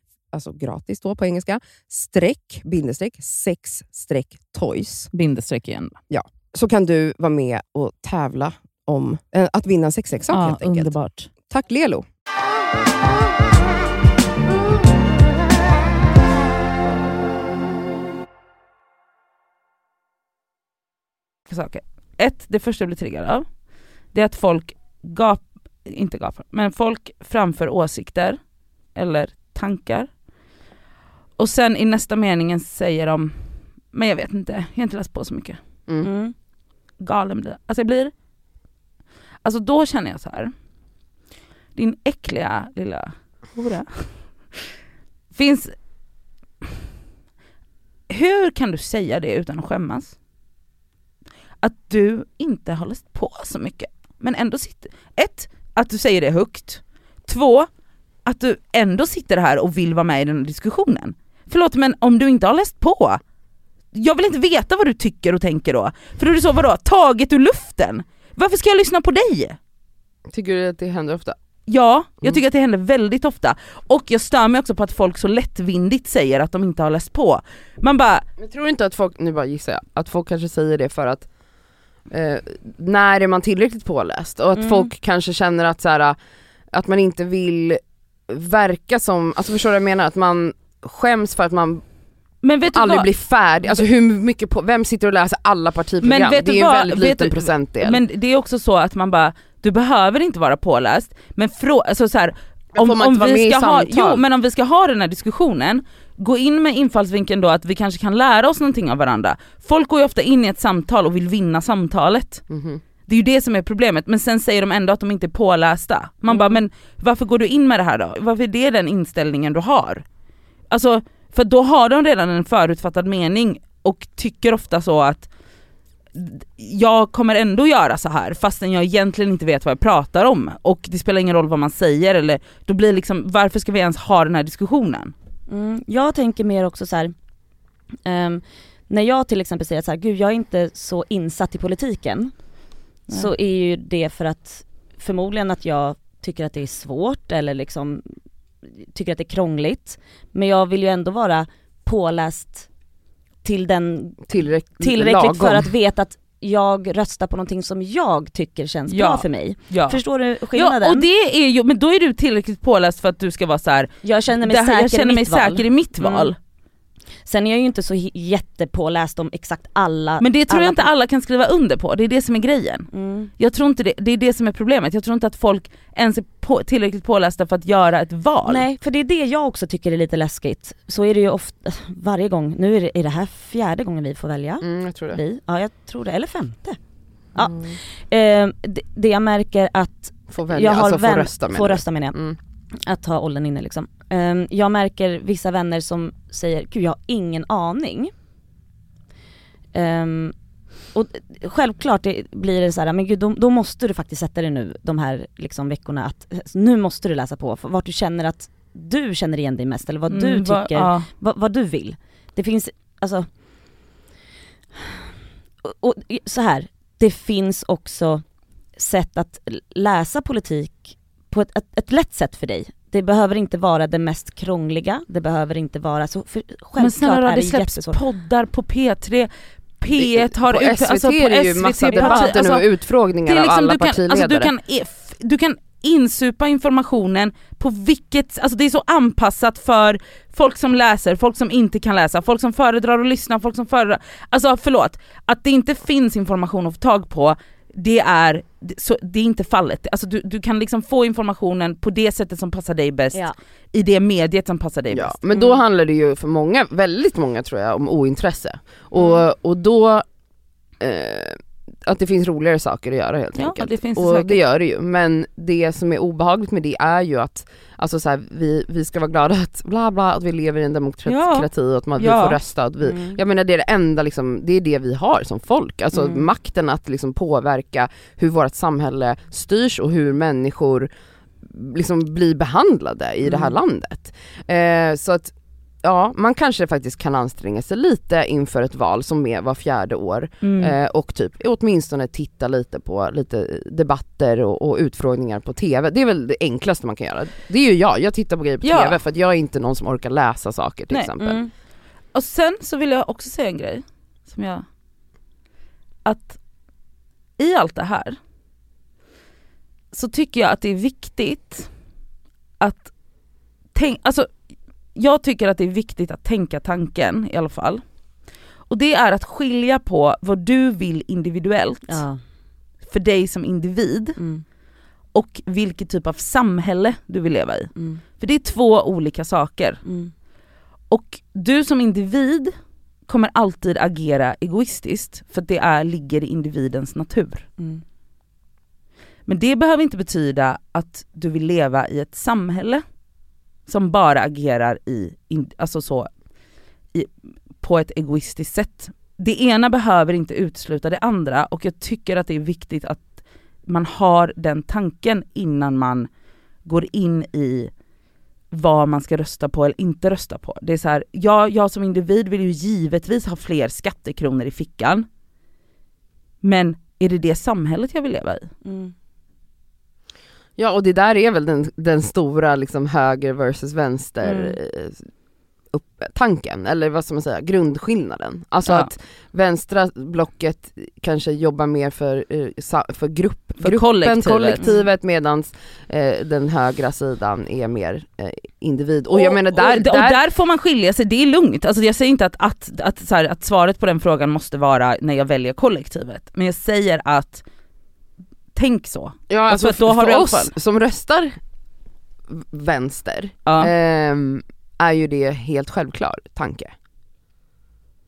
D: alltså gratis då på engelska, streck, bindestreck, sex streck toys.
B: Bindestreck igen.
D: Så kan du vara med och tävla om eh, att vinna en sexleksak
B: Ja,
D: helt enkelt.
B: underbart.
D: Tack Lelo!
B: saker. Ett, det första jag blir triggad av, det är att folk gap, inte gapar, men folk framför åsikter eller tankar. Och sen i nästa meningen säger de, men jag vet inte, jag har inte läst på så mycket.
D: Mm.
A: Mm.
B: Galen blir Alltså jag blir, alltså då känner jag så här. din äckliga lilla hora. Finns, hur kan du säga det utan att skämmas? Att du inte har läst på så mycket, men ändå sitter, ett, att du säger det högt, två, att du ändå sitter här och vill vara med i den här diskussionen. Förlåt men om du inte har läst på, jag vill inte veta vad du tycker och tänker då. För då är det så, vadå, taget ur luften? Varför ska jag lyssna på dig?
D: Tycker du att det händer ofta?
B: Ja,
D: Mm.
B: jag tycker att det händer väldigt ofta. Och jag stör mig också på att folk så lättvindigt säger att de inte har läst på. Man bara,
D: Jag tror inte att folk, nu bara gissar jag, att folk kanske säger det för att eh, när är man tillräckligt påläst? Och att
B: Mm.
D: folk kanske känner att så här, att man inte vill verka som, alltså förstår du vad jag menar? Att man skäms för att man
B: men vet du
D: aldrig
B: vad?
D: blir färdig, alltså hur mycket på, vem sitter och läser alla partiprogram?
B: Men vet
D: det
B: du
D: är en
B: vad?
D: väldigt
B: Vet
D: liten
B: du-
D: procentdel.
B: Men det är också så att man bara, du behöver inte vara påläst, men frå- alltså så här,
D: Men får man inte vara med i
B: ska ha,
D: samtal?
B: jo, men om vi ska ha den här diskussionen, gå in med infallsvinkeln då att vi kanske kan lära oss någonting av varandra. Folk går ju ofta in i ett samtal och vill vinna samtalet.
D: Mhm.
B: Det är ju det som är problemet, men sen säger de ändå att de inte är pålästa. Man bara, men varför går du in med det här då? Varför är det den inställningen du har? Alltså, för då har de redan en förutfattad mening och tycker ofta så att jag kommer ändå göra så här fastän jag egentligen inte vet vad jag pratar om och det spelar ingen roll vad man säger eller då blir liksom, varför ska vi ens ha den här diskussionen?
A: Mm. Jag tänker mer också så här. ehm, när jag till exempel säger att så här, gud jag är inte så insatt i politiken.
B: Nej.
A: Så är ju det för att förmodligen att jag tycker att det är svårt eller liksom tycker att det är krångligt. Men jag vill ju ändå vara påläst till den
D: Tillräck-
A: tillräckligt
D: lagom.
A: för att veta att jag röstar på någonting som jag tycker känns
B: Ja.
A: bra för mig.
B: Ja.
A: Förstår du skillnaden?
B: Ja, och det är ju, men då är du tillräckligt påläst för att du ska vara så här.
A: jag känner mig
B: "Det här-
A: säker
B: jag känner
A: i
B: mig
A: mitt val.
B: säker i mitt
A: Mm.
B: val.
A: Sen är jag ju inte så hi- jättepåläst om exakt alla
B: Men det tror
A: alla
B: jag inte alla kan skriva under på, det är det som är grejen.
A: Mm.
B: Jag tror inte det, det är det som är problemet, jag tror inte att folk ens är på, tillräckligt pålästa för att göra ett val.
A: Nej, för det är det jag också tycker är lite läskigt. Så är det ju ofta, varje gång. Nu är det, är det här fjärde gången vi får välja.
D: Mm, jag tror det.
A: Vi, ja jag tror det, eller femte. Ja.
D: Mm.
A: Eh, det, det jag märker att
D: Får välja,
A: jag har
D: alltså
A: vän-
D: får rösta med.
A: får rösta menar jag.
D: Mm.
A: Att ha åldern inne liksom. Eh, jag märker vissa vänner som säger, gud jag har ingen aning. Ehm, och självklart det blir det så här, men gud då, då måste du faktiskt sätta dig nu de här liksom, veckorna att nu måste du läsa på för vart du känner att du känner igen dig mest eller vad du
B: Mm, va-
A: tycker
B: ja.
A: vad, vad du vill. Det finns, alltså... Och, och så här, det finns också sätt att l- läsa politik på ett, ett, ett lätt sätt för dig. Det behöver inte vara det mest krångliga, det behöver inte vara så, för självklart
B: Men snälla
A: är
B: rara,
A: det
B: det släpps
A: jättesvårt.
B: poddar på P3, P1 har
D: på
B: ut-
D: SVT
B: alltså, på
D: är det ju
B: SVT
D: massa
B: parti-
D: debatter
B: alltså,
D: nu och utfrågningar
B: det är
D: av
B: liksom,
D: alla
B: du kan,
D: partiledare.
B: alltså, du, kan, if- du kan insupa informationen på vilket, alltså det är så anpassat för folk som läser, folk som inte kan läsa, folk som föredrar att lyssna, folk som föredrar, alltså förlåt, att det inte finns information att få tag på det är, det- så, det är inte fallet. Alltså du, du kan liksom få informationen på det sättet som passar dig bäst,
A: Ja.
B: i det mediet som passar dig
D: Ja,
B: bäst.
D: men då handlar det ju för många, väldigt många tror jag, om ointresse.
B: Mm.
D: Och, och då, eh, att det finns roligare saker att göra helt
B: Ja,
D: enkelt.
B: det finns det
D: och
B: säkert.
D: det gör det ju, men det som är obehagligt med det är ju att, alltså så här, vi, vi ska vara glada att bla bla, att vi lever i en demokrati och att man, vi
B: Ja.
D: får rösta. Att vi,
A: Mm.
D: Jag menar det är det enda liksom, det är det vi har som folk, alltså
A: Mm.
D: makten att liksom påverka hur vårt samhälle styrs och hur människor liksom blir behandlade i det här
B: Mm.
D: landet. Eh, så att ja, man kanske faktiskt kan anstränga sig lite inför ett val som är var fjärde år
B: Mm.
D: eh, och typ åtminstone titta lite på lite debatter och, och utfrågningar på TV. Det är väl det enklaste man kan göra. Det är ju jag, jag tittar på grejer på
B: Ja.
D: TV för att jag är inte någon som orkar läsa saker till
B: Nej,
D: exempel.
A: Mm.
B: Och sen så vill jag också säga en grej som jag... Att i allt det här så tycker jag att det är viktigt att tänk, alltså jag tycker att det är viktigt att tänka tanken i alla fall. Och det är att skilja på vad du vill individuellt
A: Ja.
B: för dig som individ
A: Mm.
B: och vilket typ av samhälle du vill leva i.
A: Mm.
B: För det är två olika saker.
A: Mm.
B: Och du som individ kommer alltid agera egoistiskt för att det är, ligger i individens natur.
A: Mm.
B: Men det behöver inte betyda att du vill leva i ett samhälle som bara agerar i, in, alltså så, i, på ett egoistiskt sätt. Det ena behöver inte utesluta det andra och jag tycker att det är viktigt att man har den tanken innan man går in i vad man ska rösta på eller inte rösta på. Det är så här, jag, jag som individ vill ju givetvis ha fler skattekronor i fickan. Men är det det samhället jag vill leva i?
A: Mm.
D: Ja och det där är väl den, den stora liksom höger versus vänster
A: Mm.
D: eh, upp, tanken, eller vad ska man säga, grundskillnaden. Alltså
B: Ja.
D: att vänstra blocket kanske jobbar mer för, eh, sa- för, grupp,
B: För kollektivet.
D: kollektivet medan eh, den högra sidan är mer eh, individ. Och, jag menar där,
B: och, och
D: där,
B: där får man skilja sig, det är lugnt. Alltså jag säger inte att, att, att, så här, att svaret på den frågan måste vara när jag väljer kollektivet. Men jag säger att tänk så.
D: ja,
B: alltså
D: alltså,
B: att då har du i
D: för
B: alla
D: oss
B: fall-
D: som röstar v- vänster
B: Ja.
D: ehm, är ju det helt självklar tanke.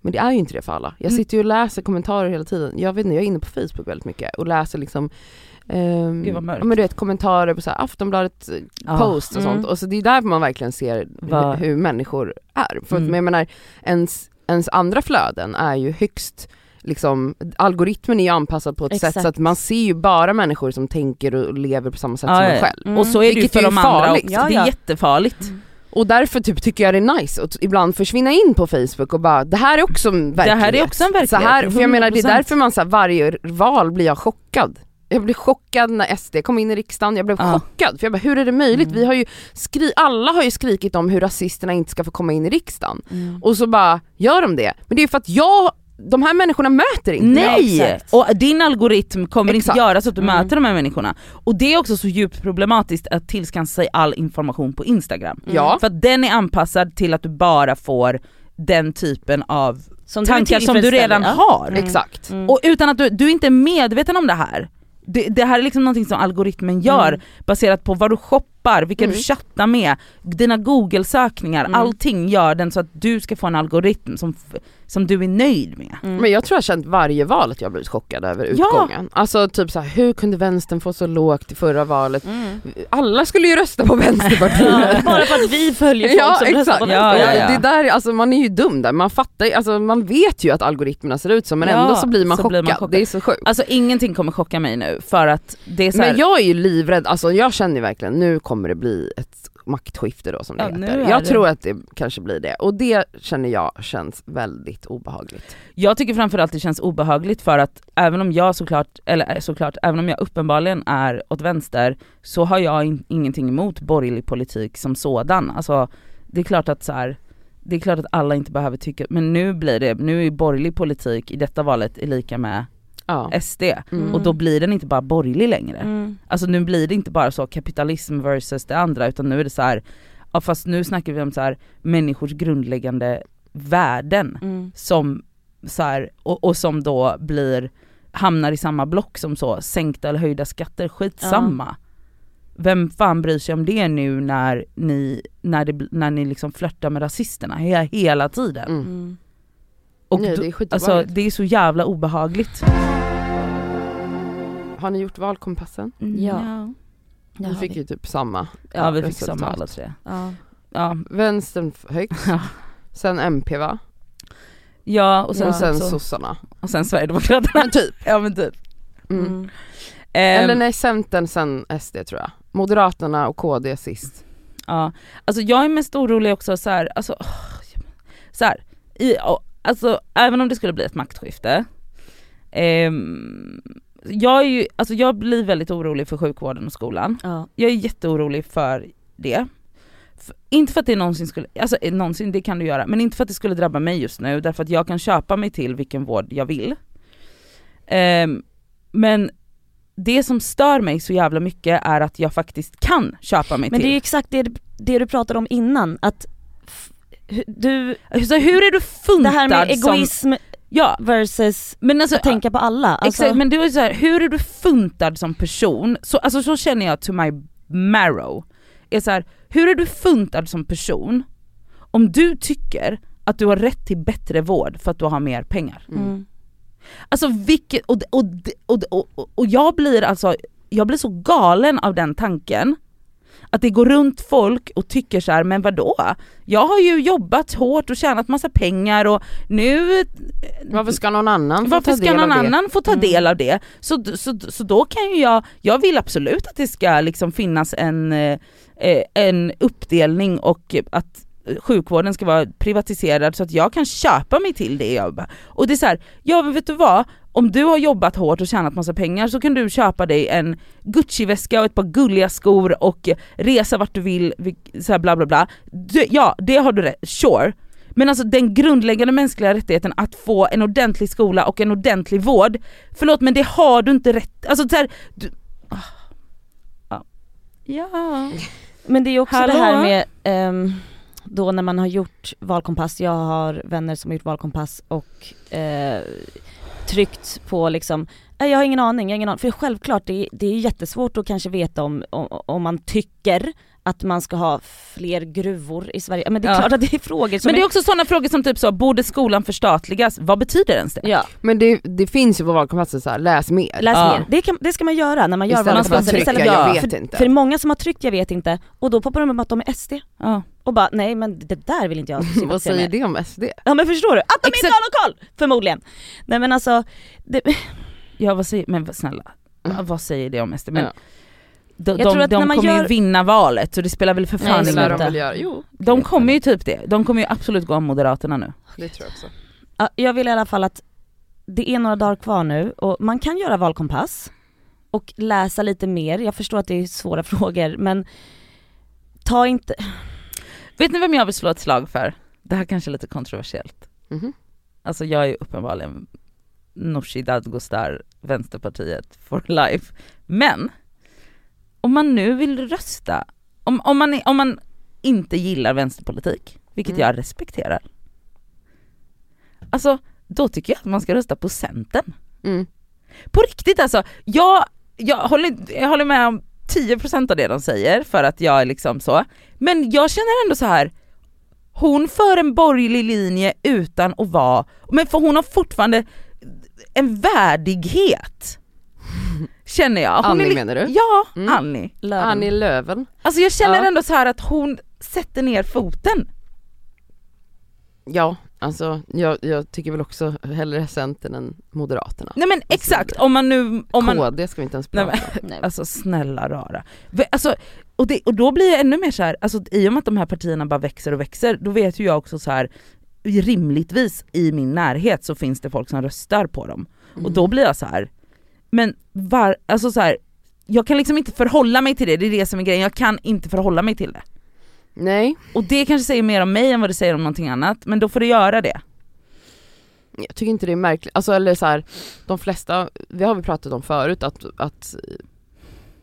D: Men det är ju inte det för alla. Jag
B: Mm.
D: sitter ju och läser kommentarer hela tiden. Jag vet inte, jag är inne på Facebook väldigt mycket och läser liksom ehm,
B: Gud, vad mörkt.
D: ja, men du vet, kommentarer på så här Aftonbladet eh,
B: Ja.
D: posts och
A: Mm.
D: sånt. Och så det är där man verkligen ser
B: Va-
D: hur, hur människor är. För att,
B: Mm.
D: men jag menar, ens, ens andra flöden är ju högst Liksom, algoritmen är ju anpassad på ett sätt
A: Exakt.
D: så att man ser ju bara människor som tänker och lever på samma sätt
B: Ja,
D: som
B: ja,
D: en
B: ja.
D: själv.
A: Mm.
B: Och så är det ju
D: Vilket
B: för
D: ju är
B: de andra
D: farligt. Mm.
B: också,
A: Ja,
B: det
A: ja.
B: är jättefarligt.
D: Och därför typ, tycker jag det är nice att ibland försvinna in på Facebook och bara det här är också en
B: Det
D: verklighet.
B: här är också en verklighet.
D: så här, för jag menar det är
B: 100%.
D: därför man så här, varje val blir jag chockad. Jag blev chockad när SD kom in i riksdagen, jag blev
B: Ja.
D: chockad. För jag bara, hur är det möjligt?
A: Mm.
D: Vi har ju skri- alla har ju skrikit om hur rasisterna inte ska få komma in i riksdagen.
A: Mm.
D: Och så bara gör de det. Men det är ju för att jag, de här människorna möter inte
B: Nej!
D: jag.
A: exakt.
B: och din algoritm kommer
D: Exakt.
B: inte göra så att du
A: Mm.
B: möter de här människorna. Och det är också så djupt problematiskt att tillskansa sig all information på Instagram. Mm.
D: Ja.
B: För att den är anpassad till att du bara får den typen av
A: Som
B: tankar som du redan har.
A: Mm.
D: Exakt.
A: Mm.
B: Och utan att du, du är inte medveten om det här. Det, det här är liksom någonting som algoritmen gör
A: Mm.
B: baserat på vad du shoppar, vilka
D: Mm.
B: du chattar med, dina google-sökningar,
A: Mm.
B: allting gör den så att du ska få en algoritm som, f- som du är nöjd med.
A: Mm.
D: Men jag tror jag har känt varje val att jag har blivit chockad över
B: Ja.
D: utgången. Alltså typ så här, hur kunde vänstern få så lågt i förra valet?
A: Mm.
D: alla skulle ju rösta
B: [laughs]
D: på
A: Ja,
D: Vänsterpartiet.
A: bara för att vi följer folk
D: Ja
A: som röstar
D: exakt,
A: på
B: Ja, ja, ja.
D: Det där, alltså, man är ju dum där, man fattar ju, alltså, man vet ju att algoritmerna ser ut så men
B: Ja,
D: ändå så blir man,
B: så
D: chockad.
B: blir man chockad.
D: det är så sjukt.
B: Alltså ingenting kommer chocka mig nu för att det är så här,
D: Men jag är ju livrädd, alltså, jag känner ju verkligen nu kommer det bli ett maktskifte då som det
B: Ja, nu
D: heter.
B: är
D: Jag
B: det.
D: tror att det kanske blir det och det känner jag känns väldigt obehagligt.
B: Jag tycker framförallt det känns obehagligt för att även om jag såklart, eller eh, såklart, även om jag uppenbarligen är åt vänster så har jag in, ingenting emot borgerlig politik som sådan. Alltså det är klart att så här, det är klart att alla inte behöver tycka, men nu blir det, nu är ju borgerlig politik i detta valet är lika med
D: Ja.
B: SD
D: Mm.
B: och då blir den inte bara borgerlig längre.
A: Mm.
B: Alltså nu blir det inte bara så kapitalism versus det andra utan nu är det så här, ja fast nu snackar vi om så här människors grundläggande värden
A: Mm.
B: som så här, och, och som då blir, hamnar i samma block som så, sänkta eller höjda skatter, skitsamma. Vem fan bryr sig om det nu när ni, när det, när ni liksom flörtar med rasisterna he, hela tiden?
D: Mm.
A: Mm.
B: Och
D: Nej,
B: då-
D: det är skitobehagligt.
B: alltså det är så jävla obehagligt.
D: Har ni gjort valkompassen?
A: Ja. Det
D: Vi
A: har
D: fick
A: vi.
D: ju typ samma.
B: Ja vi fick
D: resultat.
B: samma alla tre.
A: Ja.
B: Ja,
D: Vänstern f- högst,
B: Ja.
D: sen MP va?
B: ja och sen,
D: och sen
B: så,
D: sossarna.
B: och sen Sverigedemokraterna.
D: Men typ.
B: ja men typ.
D: Mm.
A: Mm.
B: Ehm,
D: Eller nej, Centern sen SD tror jag. Moderaterna och KD sist.
B: Ja, alltså jag är mest orolig också så här, alltså, åh, så här i, och- alltså även om det skulle bli ett maktskifte, ehm, jag, är ju, alltså jag blir väldigt orolig för sjukvården och skolan.
A: Ja.
B: Jag är jätteorolig för det. För, inte för att det någonsin skulle, alltså eh, någonsin det kan du göra, men inte för att det skulle drabba mig just nu därför att jag kan köpa mig till vilken vård jag vill. Ehm, men det som stör mig så jävla mycket är att jag faktiskt kan köpa mig
A: Men det
B: till.
A: är ju exakt det, det du pratade om innan, att f- hu- du,
B: Så Alltså, hur är du funtad
A: det här med
B: som...
A: egoism
B: Ja,
A: versus
B: men alltså,
A: att tänka på alla. Alltså,
B: exakt, men det var ju så här, hur är du funtad som person? Så, alltså så känner jag to my marrow. Är så här, hur är du funtad som person om du tycker att du har rätt till bättre vård för att du har mer pengar?
A: mm.
B: Alltså vilket, och, och, och, och, och, och jag blir alltså, jag blir så galen av den tanken. Att det går runt folk och tycker så här, men vadå? Jag har ju jobbat hårt och tjänat massa pengar och nu
D: Varför ska någon annan få
B: varför
D: ta
B: ska
D: del
B: någon
D: av det?
B: annan få ta
A: Mm.
B: del av det? Så, så, så då kan ju jag, jag vill absolut att det ska liksom finnas en, eh, eh, en uppdelning och att sjukvården ska vara privatiserad så att jag kan köpa mig till det jag beh- Och det är så här, ja men vet du vad? Om du har jobbat hårt och tjänat massa pengar så kan du köpa dig en Gucci-väska och ett par gulliga skor och resa vart du vill, vil- så här bla bla bla. Du, ja, det har du rätt, sure. Men alltså den grundläggande mänskliga rättigheten att få en ordentlig skola och en ordentlig vård, förlåt men det har du inte rätt, alltså så här, du, ah. Ja. Ja.
A: men det är också
B: Hallå?
A: det här med ehm, då när man har gjort valkompass, jag har vänner som har gjort valkompass och eh, tryckt på liksom, "Nej, jag har ingen aning, jag har ingen aning. För självklart det är, det är jättesvårt att kanske veta om, om, om man tycker att man ska ha fler gruvor i Sverige. Men det är
B: Ja.
A: klart att det är frågor som
B: Men det är också sådana frågor som typ så, borde skolan förstatligas? Vad betyder ens det?
A: är, ja.
D: Men det, det finns ju på valkompasser såhär, läs mer.
A: Läs
B: Ja.
A: mer. Det, kan, det ska man göra när man gör
D: Istället för att
A: valkompassen.
D: trycka,
A: Istället
B: "Jag
A: för-
D: vet
A: för,
D: inte."
A: För många som har tryckt jag vet inte och då poppar de upp att de är SD
B: Ja.
A: och bara nej men det där vill inte
D: [laughs]
A: jag
D: Vad
A: sympatisera
D: säger
A: med.
D: det om SD?
A: Ja men förstår du? Att de inte
B: Exakt.
A: har någon koll! Förmodligen. Nej men alltså, det,
B: Ja vad säger, men vad- snälla,
D: Mm.
B: vad- vad säger det om SD? Men
D: Ja.
A: tror
B: De, de,
A: att när
B: de
A: man
B: kommer
A: gör-
B: ju vinna valet så det spelar väl för
A: Nej,
B: fan
A: det
B: ingen
A: lär
B: roll.
A: de inte. väl
D: göra? Jo,
B: De kommer ju typ det, de kommer ju absolut gå om Moderaterna nu.
D: det tror jag också.
A: ja, jag vill i alla fall att det är några dagar kvar nu och man kan göra valkompass och läsa lite mer. Jag förstår att det är svåra [laughs] frågor men ta inte,
B: Vet ni vem jag vill slå ett slag för? Det här kanske är lite kontroversiellt. Alltså jag är uppenbarligen Nooshi Dadgostar, Vänsterpartiet for life. Men om man nu vill rösta, om, om, man, om man inte gillar vänsterpolitik, vilket
D: Mm.
B: jag respekterar. Alltså då tycker jag att man ska rösta på Centern.
D: Mm.
B: På riktigt alltså, jag, jag, håller, jag håller med om 10% av det de säger för att jag är liksom så. Men jag känner ändå så här hon för en borgerlig linje utan att vara, men för hon har fortfarande en värdighet. Känner jag. Hon
D: Annie
B: är li-
D: menar du?
B: Ja,
D: Mm.
B: Annie.
A: Löven.
D: Annie Lööfen.
B: Alltså jag känner
D: Ja.
B: ändå så här att hon sätter ner foten.
D: Ja, alltså jag, jag tycker väl också hellre Centern än Moderaterna.
B: Nej men exakt, om man nu, om man,
D: KD ska vi inte ens
B: Nej,
D: prata
B: men-
D: om.
A: Nej.
B: alltså snälla rara. V- Alltså, och, det, och då blir jag ännu mer så här, alltså i och med att de här partierna bara växer och växer, då vet ju jag också så här rimligtvis i min närhet så finns det folk som röstar på dem. [laughs] Och
D: Mm.
B: då blir jag så här. men var, alltså så här, jag kan liksom inte förhålla mig till det, det är det som är grejen, jag kan inte förhålla mig till det.
D: Mm. Nej,
B: Och det kanske säger mer om mig än vad det säger om någonting annat, men då får det göra det.
D: jag tycker inte det är märkligt. Alltså eller så här, de flesta, vi har vi pratat om förut att, att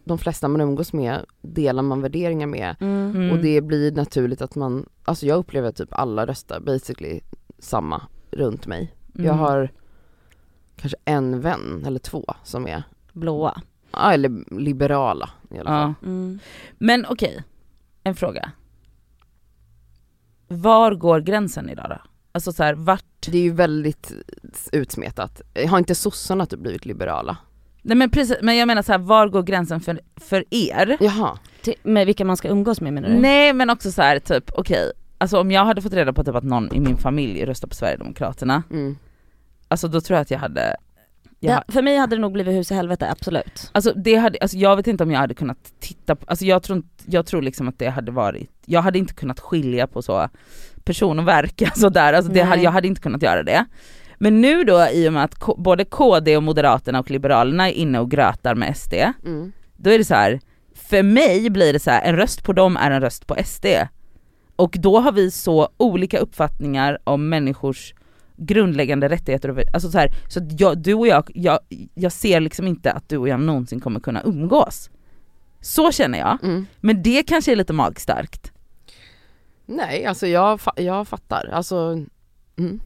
D: de flesta man umgås med delar man värderingar med
A: Mm.
B: Mm.
D: och det blir naturligt att man, alltså jag upplever att typ alla röstar basically samma runt mig. Jag
B: Mm.
D: har kanske en vän eller två som är,
A: Blåa.
D: ja, eller liberala i alla fall.
B: ja. Men okej, en fråga. Var går gränsen idag då? Alltså så här, vart?
D: Det är ju väldigt utsmetat. Har inte sossarna typ blivit liberala?
B: Nej men precis, men jag menar så här, var går gränsen för, för er?
D: Jaha.
A: Till- Med vilka man ska umgås med menar du?
B: Nej men också så här typ, okej, alltså om jag hade fått reda på typ att någon i min familj röstar på Sverigedemokraterna,
D: Mm.
B: alltså då tror jag att jag hade jag,
A: Ja, för mig hade det nog blivit hus i helvete, absolut.
B: Alltså det hade, alltså jag vet inte om jag hade kunnat titta på, alltså jag tror, inte- jag tror liksom att det hade varit, jag hade inte kunnat skilja på så person och verk [laughs] alltså där, alltså det
A: Nej.
B: hade, jag hade inte kunnat göra det. Men nu då i och med att K- både KD och Moderaterna och Liberalerna är inne och grötar med SD,
D: Mm.
B: då är det så här. för mig blir det så här: en röst på dem är en röst på SD. Och då har vi så olika uppfattningar om människors grundläggande rättigheter. och- Alltså så här, så att jag, du och jag, jag, jag ser liksom inte att du och jag någonsin kommer kunna umgås. Så känner jag,
D: Mm.
B: men det kanske är lite magstarkt.
D: Nej, alltså jag, fa- jag fattar. Alltså, mm.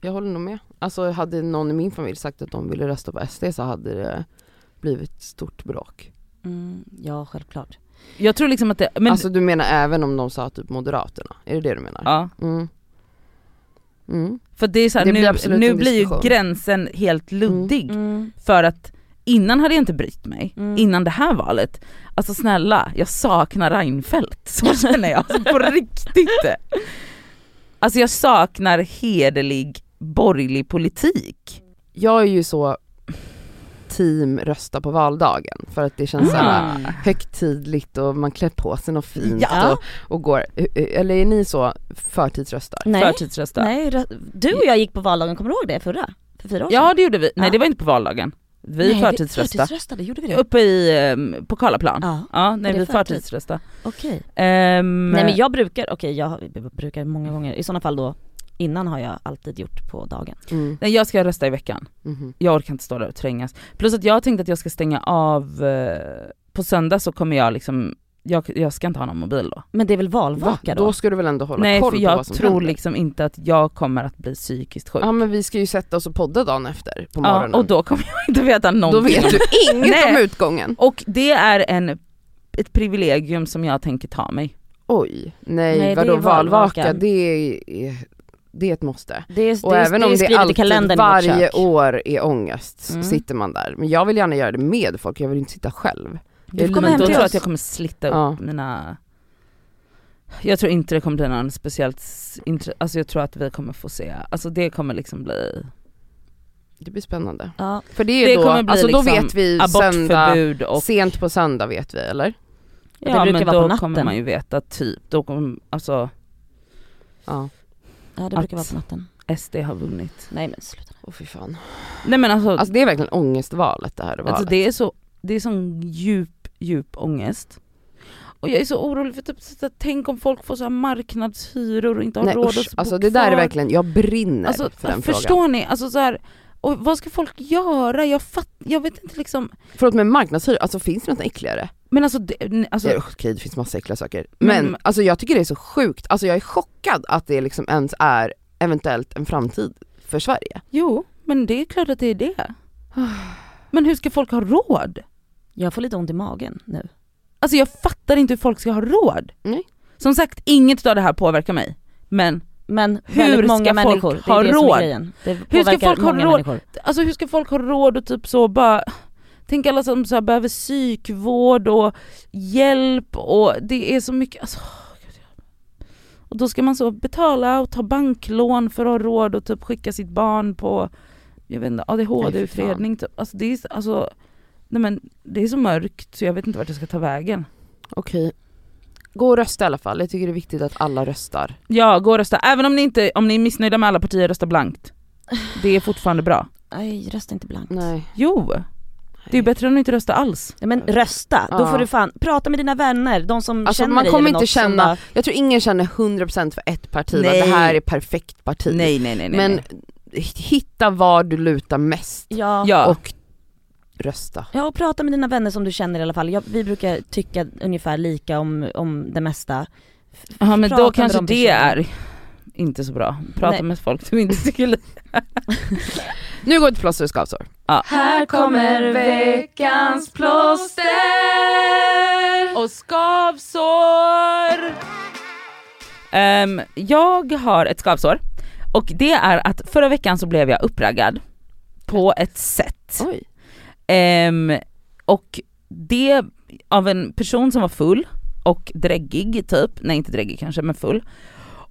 D: jag håller nog med. Alltså hade någon i min familj sagt att de ville rösta på SD så hade det blivit stort bråk.
A: Mm, ja, självklart.
B: Jag tror liksom att det, men
D: alltså du menar även om de sa typ Moderaterna, är det det du menar?
B: ja.
D: Mm. Mm.
B: För det är så här,
D: Det blir
B: nu,
D: absolut
B: nu
D: en
B: blir ju
D: diskussion.
B: gränsen helt luddig.
A: Mm.
B: För att innan hade jag inte brytt mig,
A: Mm.
B: innan det här valet. Alltså snälla, jag saknar
A: [laughs]
B: Reinfeldt. Så känner jag, alltså, på riktigt. Alltså jag saknar hederlig borgerlig politik.
D: Jag är ju så team rösta på valdagen för att det känns så här
B: Mm.
D: högtidligt och man klär på sig något fint
A: Ja.
D: och, och går, eller är ni så förtidsröstar?
A: Nej,
B: Förtidsrösta.
A: nej, rö- du och jag gick på valdagen, kommer du ihåg det förra? För fyra år sedan?
B: Ja det gjorde vi, nej
A: Ja.
B: det var inte på valdagen. Vi
A: Nej,
B: förtidsröstade.
A: förtidsröstade, gjorde vi det?
B: Uppe i, ehm, på Karlaplan. Ja,
A: Ja,
B: nej
A: det är
B: vi
A: förtid.
B: förtidsröstade.
A: okej.
B: Ehm,
A: Nej men jag brukar, okej jag har- b- brukar många gånger, i sådana fall då innan har jag alltid gjort på dagen.
D: Mm.
B: nej, jag ska rösta i veckan.
D: Mhm.
B: jag orkar inte stå där och trängas. Plus att jag tänkte att jag ska stänga av, eh, på söndag så kommer jag liksom, jag, jag ska inte ha någon mobil då.
A: Men det är väl
D: Va?
A: valvaka då?
D: Då ska du väl ändå hålla
B: Nej
D: koll
B: för
D: på
B: jag
D: vad som
B: tror
D: händer?
B: liksom inte att jag kommer att bli psykiskt sjuk.
D: Ja men vi ska ju sätta oss och podda dagen efter
B: Ja,
D: på morgonen.
B: och då kommer jag inte veta [laughs]
D: Då
B: någonting.
D: vet du inget om
B: Nej.
D: utgången.
B: Och det är en, ett privilegium som jag tänker ta mig.
D: Oj, nej,
A: Nej, det
D: vadå
A: är valvaka.
D: valvaka, det är, det är ett måste.
A: Det är,
D: Och
A: det är,
D: även
A: det är
D: om det
A: skrivet i kalendern
D: alltid
A: i vårt
D: varje
A: kök.
D: år är ångest så
A: Mm.
D: sitter man där. Men jag vill gärna göra det med folk, jag vill inte sitta själv.
A: Du får
D: Men
A: komma
B: Men då
A: hem
B: tror
A: till
B: jag
A: oss.
B: att jag kommer slita
D: Ja.
B: upp mina... Jag tror inte det kommer bli någon speciellt, s- intre- alltså jag tror att vi kommer få se, alltså det kommer liksom bli
D: Det blir spännande.
A: Ja,
D: För det är ju
B: Det
D: då,
B: kommer bli
D: alltså då
B: liksom
D: vet vi söndag,
B: abortförbud och
D: sent på söndag vet vi eller?
A: Det brukar
B: men
A: vara på
B: då
A: natten.
B: kommer man ju veta typ, då kommer, alltså
A: ja
D: Ja,
A: det
B: Att-
A: brukar vara på natten.
B: SD har vunnit.
A: Nej men sluta.
D: åh fy fan.
B: Nej men alltså, alltså,
D: Alltså det är verkligen ångestvalet det här valet.
B: det är så, det är sån djup, djup ångest. Och jag är så orolig för typ, så att tänk om folk får så här marknadshyror och inte har
D: nej,
B: råd
D: usch,
B: att bo
D: alltså det där är
B: kvar.
D: verkligen, jag brinner
B: alltså,
D: för den
B: Förstår
D: frågan.
B: ni? Alltså så här, och vad ska folk göra? Jag fatt, jag vet inte liksom.
D: Förlåt men marknadshyror, alltså finns det något äckligare?
B: Men alltså, det, alltså
D: ja, okej det finns massa äckliga saker. Men
B: Men-
D: alltså jag tycker det är så sjukt, alltså jag är chockad att det liksom ens är eventuellt en framtid för Sverige.
B: jo men det är klart att det är det. Men hur ska folk ha råd?
A: Jag får lite ont i magen nu.
B: Alltså jag fattar inte hur folk ska ha råd.
D: Nej.
B: Som sagt, inget av det här påverkar mig. Men
A: Men
B: Hur
A: väldigt många
B: ska folk
A: människor, det
B: ha
A: är det som
B: råd?
A: är grejen. Det
B: ska
A: påverkar
B: folk ha
A: många
B: råd?
A: människor.
B: alltså hur ska folk ha råd och typ så bara Tänk alla som så här behöver psykvård och hjälp och det är så mycket, alltså, gud, jag- Och då ska man så betala och ta banklån för att ha råd och typ skicka sitt barn på, jag vet inte, ADHD-utredning typ. Alltså det är, så- alltså, nej men det är så mörkt så jag vet inte vart jag ska ta vägen.
D: Okej. Gå och rösta i alla fall, jag tycker det är viktigt att alla röstar.
B: Ja, gå och rösta. Även om ni, inte, om ni är missnöjda med alla partier, rösta blankt. Det är fortfarande bra.
A: Nej rösta inte blankt.
D: Nej.
B: Jo, det är ju bättre än att inte rösta alls.
A: Nej, men rösta, då
D: Ja.
A: får du fan, prata med dina vänner, de som
D: Alltså,
A: känner
D: man
A: dig
D: kommer
A: eller
D: inte
A: något som
D: känna-
A: bara-
D: Jag tror ingen känner 100% för ett parti,
B: Nej.
D: att det här är perfekt parti.
B: nej, nej.
D: Men hitta var du lutar mest
A: ja.
B: Ja,
D: och rösta.
A: Ja och prata med dina vänner som du känner i alla fall. Jag, vi brukar tycka ungefär lika om, om det mesta.
B: ja men
A: prata
B: då
A: med
B: kanske
A: de
B: det
A: personerna.
B: är inte så bra. Prata
A: Nej.
B: med folk du inte tycker li-
D: Nu går vi till plåster och skavsår.
B: Här kommer veckans plåster och skavsår. Ehm, jag har ett skavsår och det är att förra veckan så blev jag uppraggad på ett sätt.
D: Oj.
B: Ehm, och det av en person som var full och dräggig typ, nej inte dräggig kanske men full.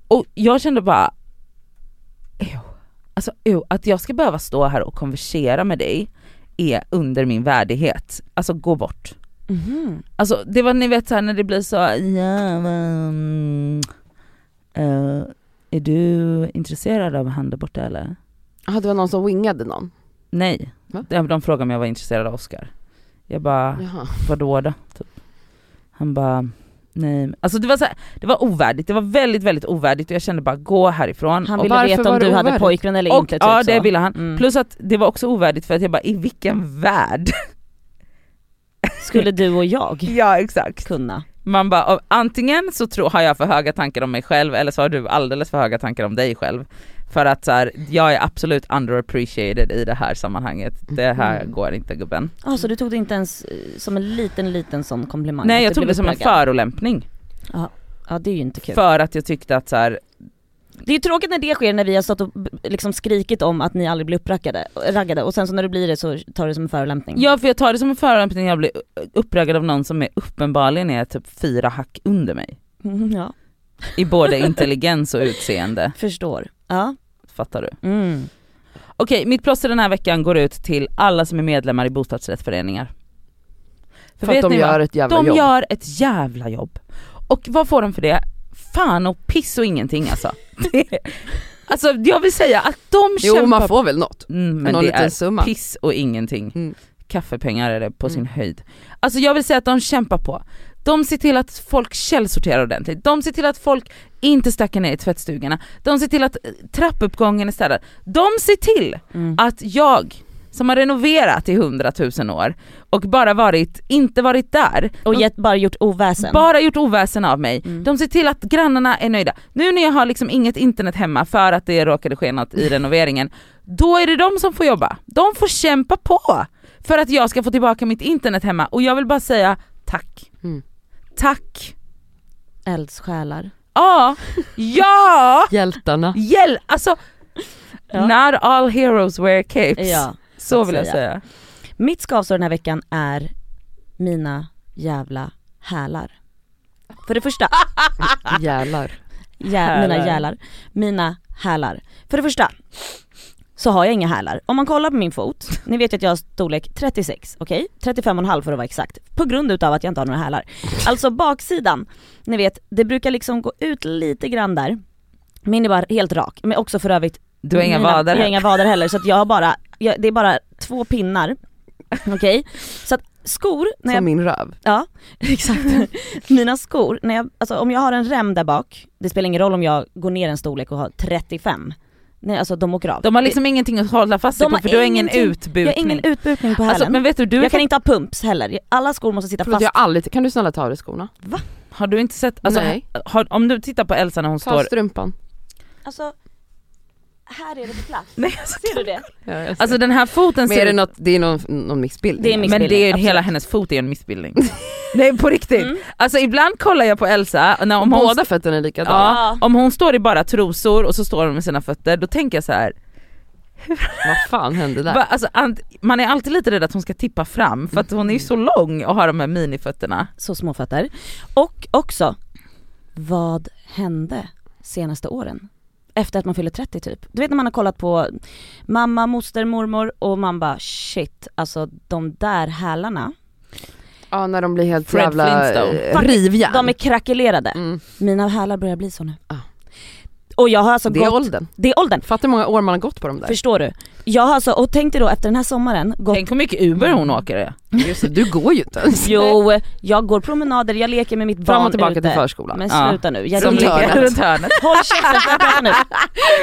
B: Och jag kände bara, ew. alltså ew, att jag ska behöva stå här och konversera med dig är under min värdighet. Alltså gå bort.
A: Mhm.
B: Alltså det var ni vet såhär när det blir så, ja men, eh, är du intresserad av han där borta eller?
D: Ah, det var någon som wingade någon.
B: Nej.
D: Va?
B: De, de frågade om jag var intresserad av Oscar. Jag bara,
D: Jaha.
B: vadå då? Typ. Han bara, nej. Alltså det var, så här, det var ovärdigt, det var väldigt väldigt ovärdigt och jag kände bara gå härifrån.
A: Han
B: och,
A: ville
D: varför
A: veta
D: var
A: om
D: det
A: du hade
D: ovärdigt?
A: pojkvän eller
B: och,
A: inte. Typ
B: ja
A: så.
B: det ville han.
A: Mm.
B: Plus att det var också ovärdigt för att jag bara, i vilken värld? [laughs]
A: Skulle du och jag
B: ja [laughs] exakt.
A: kunna?
B: Man bara, "Av- antingen så tror, har jag för höga tankar om mig själv eller så har du alldeles för höga tankar om dig själv. För att så här, jag är absolut underappreciated i det här sammanhanget. Det här
D: Mhm.
B: går inte gubben.
A: Ja, så du tog det inte ens eh, som en liten liten sån komplimang?
B: Nej
A: att
B: jag
A: du
B: tog
A: blev
B: det som en
A: uppraggad?
B: förolämpning.
A: Ja det är ju inte kul.
B: För att jag tyckte att så här,
A: Det är ju tråkigt när det sker när vi har stått och b- liksom skrikit om att ni aldrig blir uppraggade raggade, och sen så när du blir det så tar du det som en förolämpning.
B: ja för jag tar det som en förolämpning när jag blir uppraggad av någon som är uppenbarligen är typ fyra hack under mig.
A: Mm, ja.
B: I [laughs] både intelligens och utseende.
A: Förstår. Ja.
B: Fattar du?
A: Mm.
B: Okej, mitt plåster den här veckan går ut till alla som är medlemmar i bostadsrättsföreningar.
D: För att de
B: vad?
D: gör ett jävla
B: de
D: jobb.
B: gör ett jävla jobb. Och vad får de för det? Fan och piss och ingenting
D: [laughs]
B: alltså. Det- alltså jag vill säga att de
D: Jo
B: kämpar...
D: man får väl något.
B: mm, men
D: Någon
B: det
D: liten
B: är
D: summa.
B: piss och ingenting.
D: Mm.
B: Kaffepengar är det på sin
D: Mm.
B: höjd. Alltså jag vill säga att de kämpar på. De ser till att folk källsorterar ordentligt, de ser till att folk inte stackar ner i tvättstugorna, de ser till att eh, trappuppgången är städad. De ser till
A: Mm.
B: att jag som har renoverat i hundratusen år och bara varit, inte varit där,
A: Och
B: de-
A: gett, bara gjort oväsen.
B: bara gjort oväsen av mig.
A: Mm.
B: De ser till att grannarna är nöjda. Nu när jag har liksom inget internet hemma för att det råkade ske
A: [laughs]
B: något i renoveringen, då är det de som får jobba. De får kämpa på för att jag ska få tillbaka mitt internet hemma och jag vill bara säga tack.
D: Mm.
B: Tack.
A: Eldsjälar.
B: Ja, [laughs] ja, [laughs]
D: Hjältarna.
B: hjälp. Alltså,
A: Ja.
B: not all heroes wear capes.
A: Ja.
B: Så vill jag
A: säga.
B: säga.
A: Mitt skavsår den här veckan är mina jävla hälar. För det första,
D: Jälar.
A: jä- mina
B: Hälar.
A: jälar. Mina hälar. För det första så har jag inga hälar. Om man kollar på min fot, ni vet ju att jag har storlek 36, okej? 35,5 för att vara exakt. På grund utav att jag inte har några hälar. Alltså baksidan, ni vet, det brukar liksom gå ut lite grann där. Min är bara helt rak, men också för övrigt
B: Du har inga
A: mina-
B: vader
A: Jag har
B: här.
A: inga vader heller så att jag har bara, jag, det är bara två pinnar. Okej? Så att skor, när
D: Som
A: jag,
D: min röv.
A: ja [laughs]
B: [laughs]
A: exakt. Mina skor, när jag, alltså om jag har en rem där bak, det spelar ingen roll om jag går ner en storlek och har 35. Nej alltså de åker av.
B: De har liksom ingenting att hålla fast sig
A: De
B: på
A: har
B: för du har ingen
A: ingenting-
B: utbukning.
A: jag har ingen utbukning på hälen.
B: alltså, men vet du, du är
A: jag kan inte ha pumps heller, alla skor måste sitta
D: Förlåt
A: fast.
D: jag har aldrig, kan du snälla ta av dig skorna?
B: Har du inte sett, alltså,
D: Nej.
B: har, om du tittar på Elsa när hon
D: Ta
B: står...
D: strumpan.
A: Alltså, här är det på plats.
B: Nej, alltså,
A: Ser du det?
D: Ja, jag ser.
B: alltså den här foten
D: men
B: ser
D: är det
B: ut-
D: något, det är någon, någon missbildning?
A: Det är miss-
B: men det är ju,
A: Missbildning,
B: hela hennes fot är en [laughs] missbildning. Nej på riktigt. Alltså ibland kollar jag på Elsa, och när, om, hon,
D: Båda fötterna är likadana.
B: ja, om hon står i bara trosor och så står hon med sina fötter, då tänker jag så här.
D: Vad fan hände där?
B: Va, alltså, ant, man är alltid lite rädd att hon ska tippa fram för att hon är ju så lång och har de här minifötterna.
A: så småfötter. Och också, vad hände senaste åren? Efter att man fyller 30 typ. Du vet när man har kollat på mamma, moster, mormor och man bara shit, alltså de där hälarna,
D: Ja när de blir helt
B: Fred
D: jävla
B: Flintstone.
D: eh, rivjärn.
A: de är krackelerade.
D: Mm.
A: Mina hälar börjar bli så nu.
D: Ah.
A: Och jag har alltså
D: Det
A: gått,
D: är åldern.
A: det är åldern,
D: Fattar hur många år man har gått på de där.
A: förstår du? Jag har alltså, och tänk dig då efter den här sommaren, gått
B: Tänk hur mycket Uber hon åker.
D: Just det, du går ju inte
A: [laughs]
D: ens.
A: Jo, jag går promenader, jag leker med mitt barn
D: Fram och tillbaka
A: ute.
D: till förskolan. Ah.
A: Men
B: Ja.
A: sluta nu, jag
D: Som
B: Som
A: ligger-
D: hörnet.
B: ligger runt hörnet.
A: Håll käften, får jag prata
D: [laughs]
A: nu?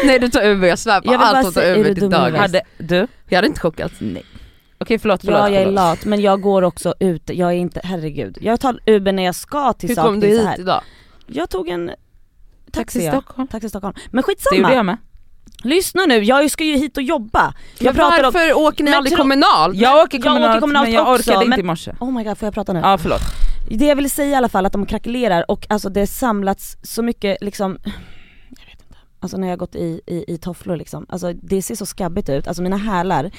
D: Nej du tar Uber, jag svär på
A: Jag vill bara
D: allt och tar
A: säga, är
D: Uber
A: du
D: till
A: dum i
D: dagis.
A: huvudet?
B: Hade, du?
D: Jag hade inte chockats.
B: Nej. Okej förlåt, förlåt.
A: Ja jag är
B: förlåt.
A: lat men jag går också ut, jag är inte, herregud. Jag tar Uber när jag ska till
D: Hur
A: saker
D: kom du
A: det är så
D: hit
A: här.
D: idag?
A: Jag tog en
B: Taxi
A: taxi, ja.
B: Stockholm.
A: taxi Stockholm. Men
B: Det gjorde
A: skitsamma,
B: jag med.
A: lyssna nu, jag ska ju hit och jobba. Jag
D: Men
A: pratar om,
D: varför åker ni
A: Men
D: aldrig
A: tro-
D: kommunal?
B: Jag åker
A: Jag åker
B: kommunalt,
A: kommunalt
B: men jag
A: också,
B: orkade inte
A: men-
B: i morse.
A: oh my god får jag prata nu?
B: Ja förlåt.
A: Det jag vill säga i alla fall att de krackelerar och alltså det har samlats så mycket liksom, jag vet inte, alltså när jag har gått i, i, i tofflor liksom. Alltså det ser så skabbigt ut, alltså mina hälar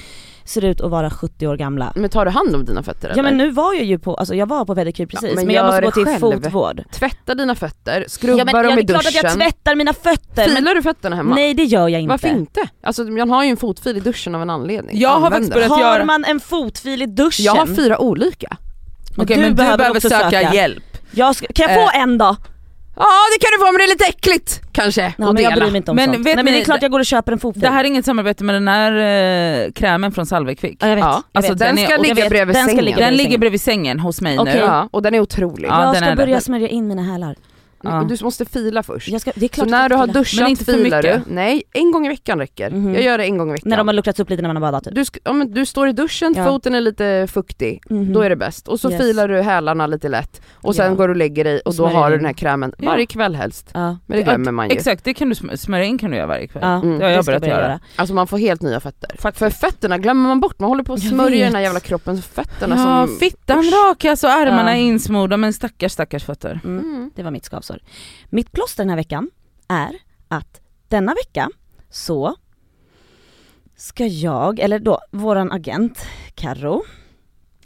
A: ser ut att vara 70 år gamla.
D: Men tar du hand om dina fötter
A: Ja
D: eller?
A: men nu var jag ju på, alltså jag var på pedikyr precis
D: men
A: men, jag
D: gör
A: måste gå
D: det
A: till
D: själv.
A: fotvård.
D: Tvätta dina fötter, skrubba
A: ja, men,
D: dem
A: ja,
D: i
A: det är
D: duschen.
A: klart att jag tvättar mina fötter men
D: Filar du fötterna hemma?
A: nej det gör jag inte.
D: Varför inte? Alltså man har ju en fotfil i duschen av en anledning.
B: Jag har
D: Använd
B: faktiskt
D: den.
B: börjat-
A: Har
B: göra-
A: man en fotfil i duschen?
D: Jag har fyra olika.
A: Men
B: Okej
A: du
B: men du
A: behöver
B: behöver,
A: också
B: söka,
A: söka.
B: hjälp.
A: Jag ska, kan jag få en då?
D: Ja det kan du få men det är lite äckligt kanske.
A: Nej
D: att
A: men jag
D: dela.
A: bryr mig inte om
B: Men
A: sånt.
B: vet
A: Nej, men
B: ni,
A: det är klart jag går och köper en fotfil.
B: Det här är inget samarbete med den här eh, krämen från Salvekvick.
A: ja, jag vet.
D: Ja,
A: jag
B: alltså
A: vet.
B: den
D: Den
B: är-
D: ska
B: jag
D: ligga
A: vet,
D: bredvid
A: den ska
D: sängen.
A: ligga
B: Den
A: bredvid
B: ligger
A: sängen.
B: bredvid sängen hos mig
A: Okej.
B: nu.
D: Ja, och den är otrolig.
B: Ja,
A: jag
B: den är
A: ska
B: det.
A: börja smörja in mina hälar.
B: Ja.
D: Du måste fila först.
A: Jag ska, det är
D: Så
A: klart
D: när du har
A: duschat
D: duschat
B: Men inte för
D: filar du.
B: mycket.
D: Nej, en gång i veckan räcker.
A: Mhm.
D: Jag gör det en gång i veckan.
A: När de har luckrats upp lite när man har badat typ.
D: du, sk- ja, men du står i duschen,
A: Ja.
D: foten är lite fuktig,
A: Mhm.
D: då är det bäst. Och så
A: Yes.
D: filar du hälarna lite lätt och sen
A: Ja.
D: går du och lägger dig och då
A: Smörjer
D: har du
A: in.
D: den här krämen
B: Ja.
D: varje kväll helst.
A: Ja.
D: Men det
B: Ja,
D: glömmer man ju.
B: Exakt, det kan du sm- smörja in kan du göra varje kväll.
A: Ja,
D: Mm.
B: Det har jag
A: ska
B: börjat
A: börja
B: göra.
D: Alltså man får helt nya fötter.
B: Faktiskt.
D: För fötterna glömmer man bort, man håller på och
A: Jag
D: smörjer
A: vet.
D: den här jävla kroppen, så fötterna
B: Ja,
D: som...
B: fittan
D: Usch.
B: rakas och ärmarna
A: Ja.
B: är insmorda men stackars stackars fötter.
A: Mm.
D: Mm.
A: Det var mitt skavsår. Mitt plåster den här veckan är att denna vecka så ska jag, eller då våran agent Karo,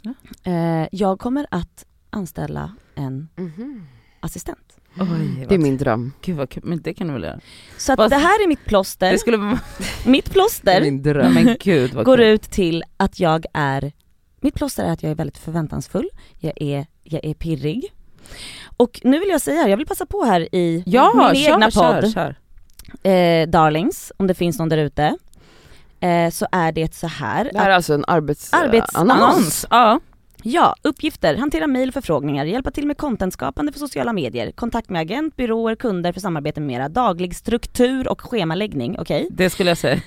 B: Ja.
A: eh, jag kommer att anställa en
D: Mhm.
A: assistent.
B: Oj,
D: Det är min dröm.
B: Gud vad kul, men det kan du väl göra?
A: Så att
B: Fast-
A: det här är mitt plåster,
B: Det skulle vara...
A: mitt
D: Det är
A: plåster
D: min dröm.
B: Men gud vad
A: går
B: kul.
A: ut till att jag är, mitt plåster är att jag är väldigt förväntansfull, jag är, jag är pirrig. Och nu vill jag säga, jag vill passa på här i
B: Ja,
A: min
B: kör,
A: egna podd.
B: kör, kör.
A: eh, darlings, om det finns någon där ute, eh, så är det så här.
D: Det här
A: att,
D: är alltså en arbets...
A: Arbetsannons.
D: annons.
B: Annons, ja.
A: ja, uppgifter, hantera mejl, förfrågningar, hjälpa till med contentskapande för sociala medier, kontakt med agent, byråer, kunder för samarbete med mera, daglig struktur och schemaläggning, okej?
B: Det skulle jag säga.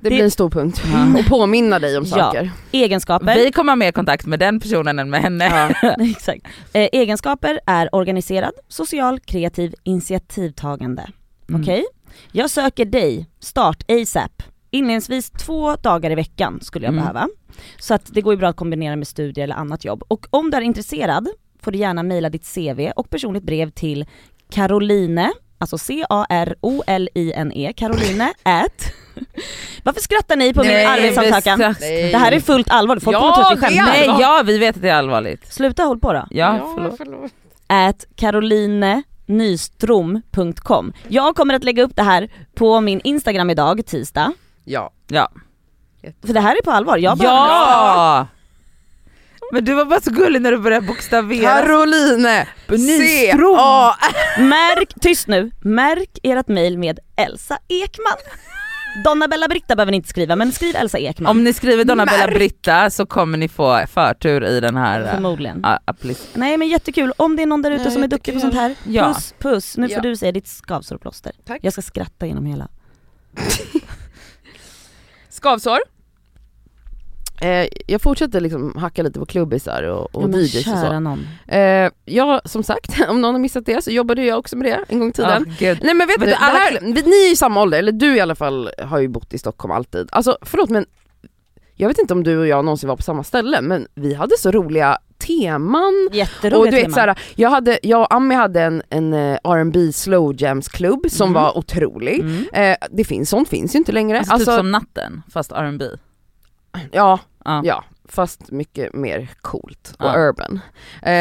D: Det blir en stor punkt.
B: Ja.
D: [laughs] Och påminna dig om
A: Ja.
D: saker.
A: Egenskaper.
B: Vi kommer ha mer kontakt med den personen än med henne.
A: [laughs] Nej, Exakt. Eh, egenskaper är organiserad, social, kreativ, initiativtagande.
B: Mm.
A: Okej? Jag söker dig, start ASAP. Inledningsvis två dagar i veckan skulle jag
B: Mm.
A: behöva. Så att det går ju bra att kombinera med studier eller annat jobb. Och om du är intresserad får du gärna mejla ditt CV och personligt brev till Caroline, alltså C-A-R-O-L-I-N-E, E,
D: [laughs]
A: Caroline at... Varför skrattar ni på min arbetsansökan?
B: Nej,
A: Det här är fullt allvar, folk
D: Ja,
A: kommer tro att vi
D: det är
A: skämtar.
D: allvar.
B: ja vi vet att det är allvarligt.
A: Sluta håll på då.
B: Ja, förlåt.
D: förlåt.
A: at carolinenystrom.com. Jag kommer att lägga upp det här på min Instagram idag, tisdag.
D: Ja.
B: Ja.
A: För det här är på allvar, jag behöver-
B: ja! Men du var bara så gullig när du började bokstavera.
D: Caroline
B: Nyström.
D: C-A-R.
A: Märk, tyst nu, märk ert mail med Elsa Ekman. Donna Bella Britta behöver ni inte skriva, men skriv Elsa Ekman.
B: Om ni skriver Donna Bella
D: Märk.
B: Britta så kommer ni få förtur i den här eh,
A: Förmodligen.
B: a- appli-
A: Nej men jättekul, om det är någon där ute
D: Ja,
A: som är duktig på sånt
D: jättekul.
A: här,
B: Ja.
A: puss puss. Nu får
D: Ja.
A: du säga ditt skavsårplåster.
D: Tack.
A: Jag ska skratta genom hela.
D: Skavsår. Eh, jag fortsätter liksom hacka lite på klubbisar och, och
A: Ja, men
D: DJs och så.
A: kära någon.
D: Eh, jag, som sagt, [laughs] om någon har missat det så jobbade jag också med det en gång i tiden.
B: Ja, gud.
D: Nej men vet,
B: Vet
D: du,
B: du, alla
D: det här, vi- ni är i samma ålder, eller du i alla fall har ju bott i Stockholm alltid. Alltså förlåt men, jag vet inte om du och jag någonsin var på samma ställe men vi hade så roliga teman
A: Jätteroliga
D: Mm. och du vet
A: teman.
D: såhär, jag, hade, jag och Ami hade en, en eh, R&B slow jams klubb som
A: Mm.
D: var otrolig.
B: Mm.
D: Eh, det finns, sånt finns ju inte längre.
B: Alltså,
D: Alltså,
B: typ som natten fast R&B.
D: ja,
B: Ja.
D: ja, fast mycket mer coolt och
B: Ja.
D: urban. Eh,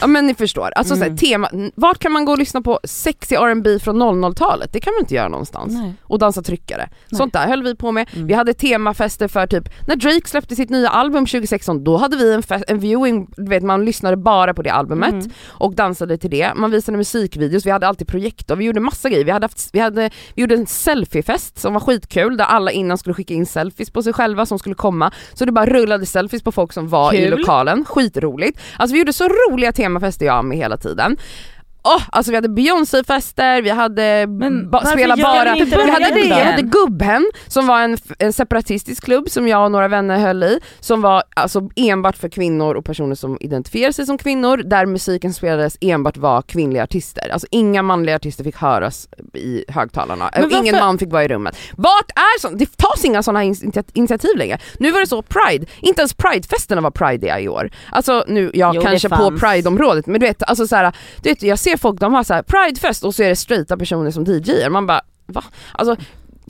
D: ja men ni förstår, alltså
A: Mm.
D: såhär, tema, vart kan man gå och lyssna på sexig R&B från 00-talet? Det kan man inte göra någonstans.
A: Nej.
D: och dansa tryckare.
A: Nej.
D: Sånt där höll vi på med.
A: Mm.
D: Vi hade temafester för typ, när Drake släppte sitt nya album 2016 då hade vi en, fe- en viewing, du vet man lyssnade bara på det albumet
A: Mm.
D: och dansade till det. Man visade musikvideos, vi hade alltid projektor, vi gjorde massa grejer. Vi, hade haft, vi, hade, vi gjorde en selfiefest som var skitkul där alla innan skulle skicka in selfies på sig själva som skulle komma. Så det bara rullade selfies på folk som var i
A: Kul.
D: lokalen, skitroligt. Alltså vi gjorde så roliga temafester jag och Ami hela tiden. Åh, alltså vi hade Beyoncé-fester, vi hade
B: Men
D: ba-
A: varför
D: spela
A: gör
D: bara,
A: ni inte
D: vi
A: det
D: hade,
A: här
D: det,
A: då?
D: vi hade Gubbhem som var en, f- en separatistisk klubb som jag och några vänner höll i, som var alltså enbart för kvinnor och personer som identifierar sig som kvinnor, där musiken spelades enbart var kvinnliga artister. Alltså inga manliga artister fick höras i högtalarna,
B: Men
D: Och ingen
B: varför-
D: man fick vara i rummet. Vart är sånt? Det tas inga sådana initiativ längre. Nu var det så Pride, inte ens Pride-festerna var prideiga i år. Alltså nu, ja
A: Jo, det
D: kanske på
A: fanns.
D: Pride-området, men du vet, alltså så här, du vet, jag ser folk, de har så här Pride-fest och så är det straighta personer som DJar, man bara va? Alltså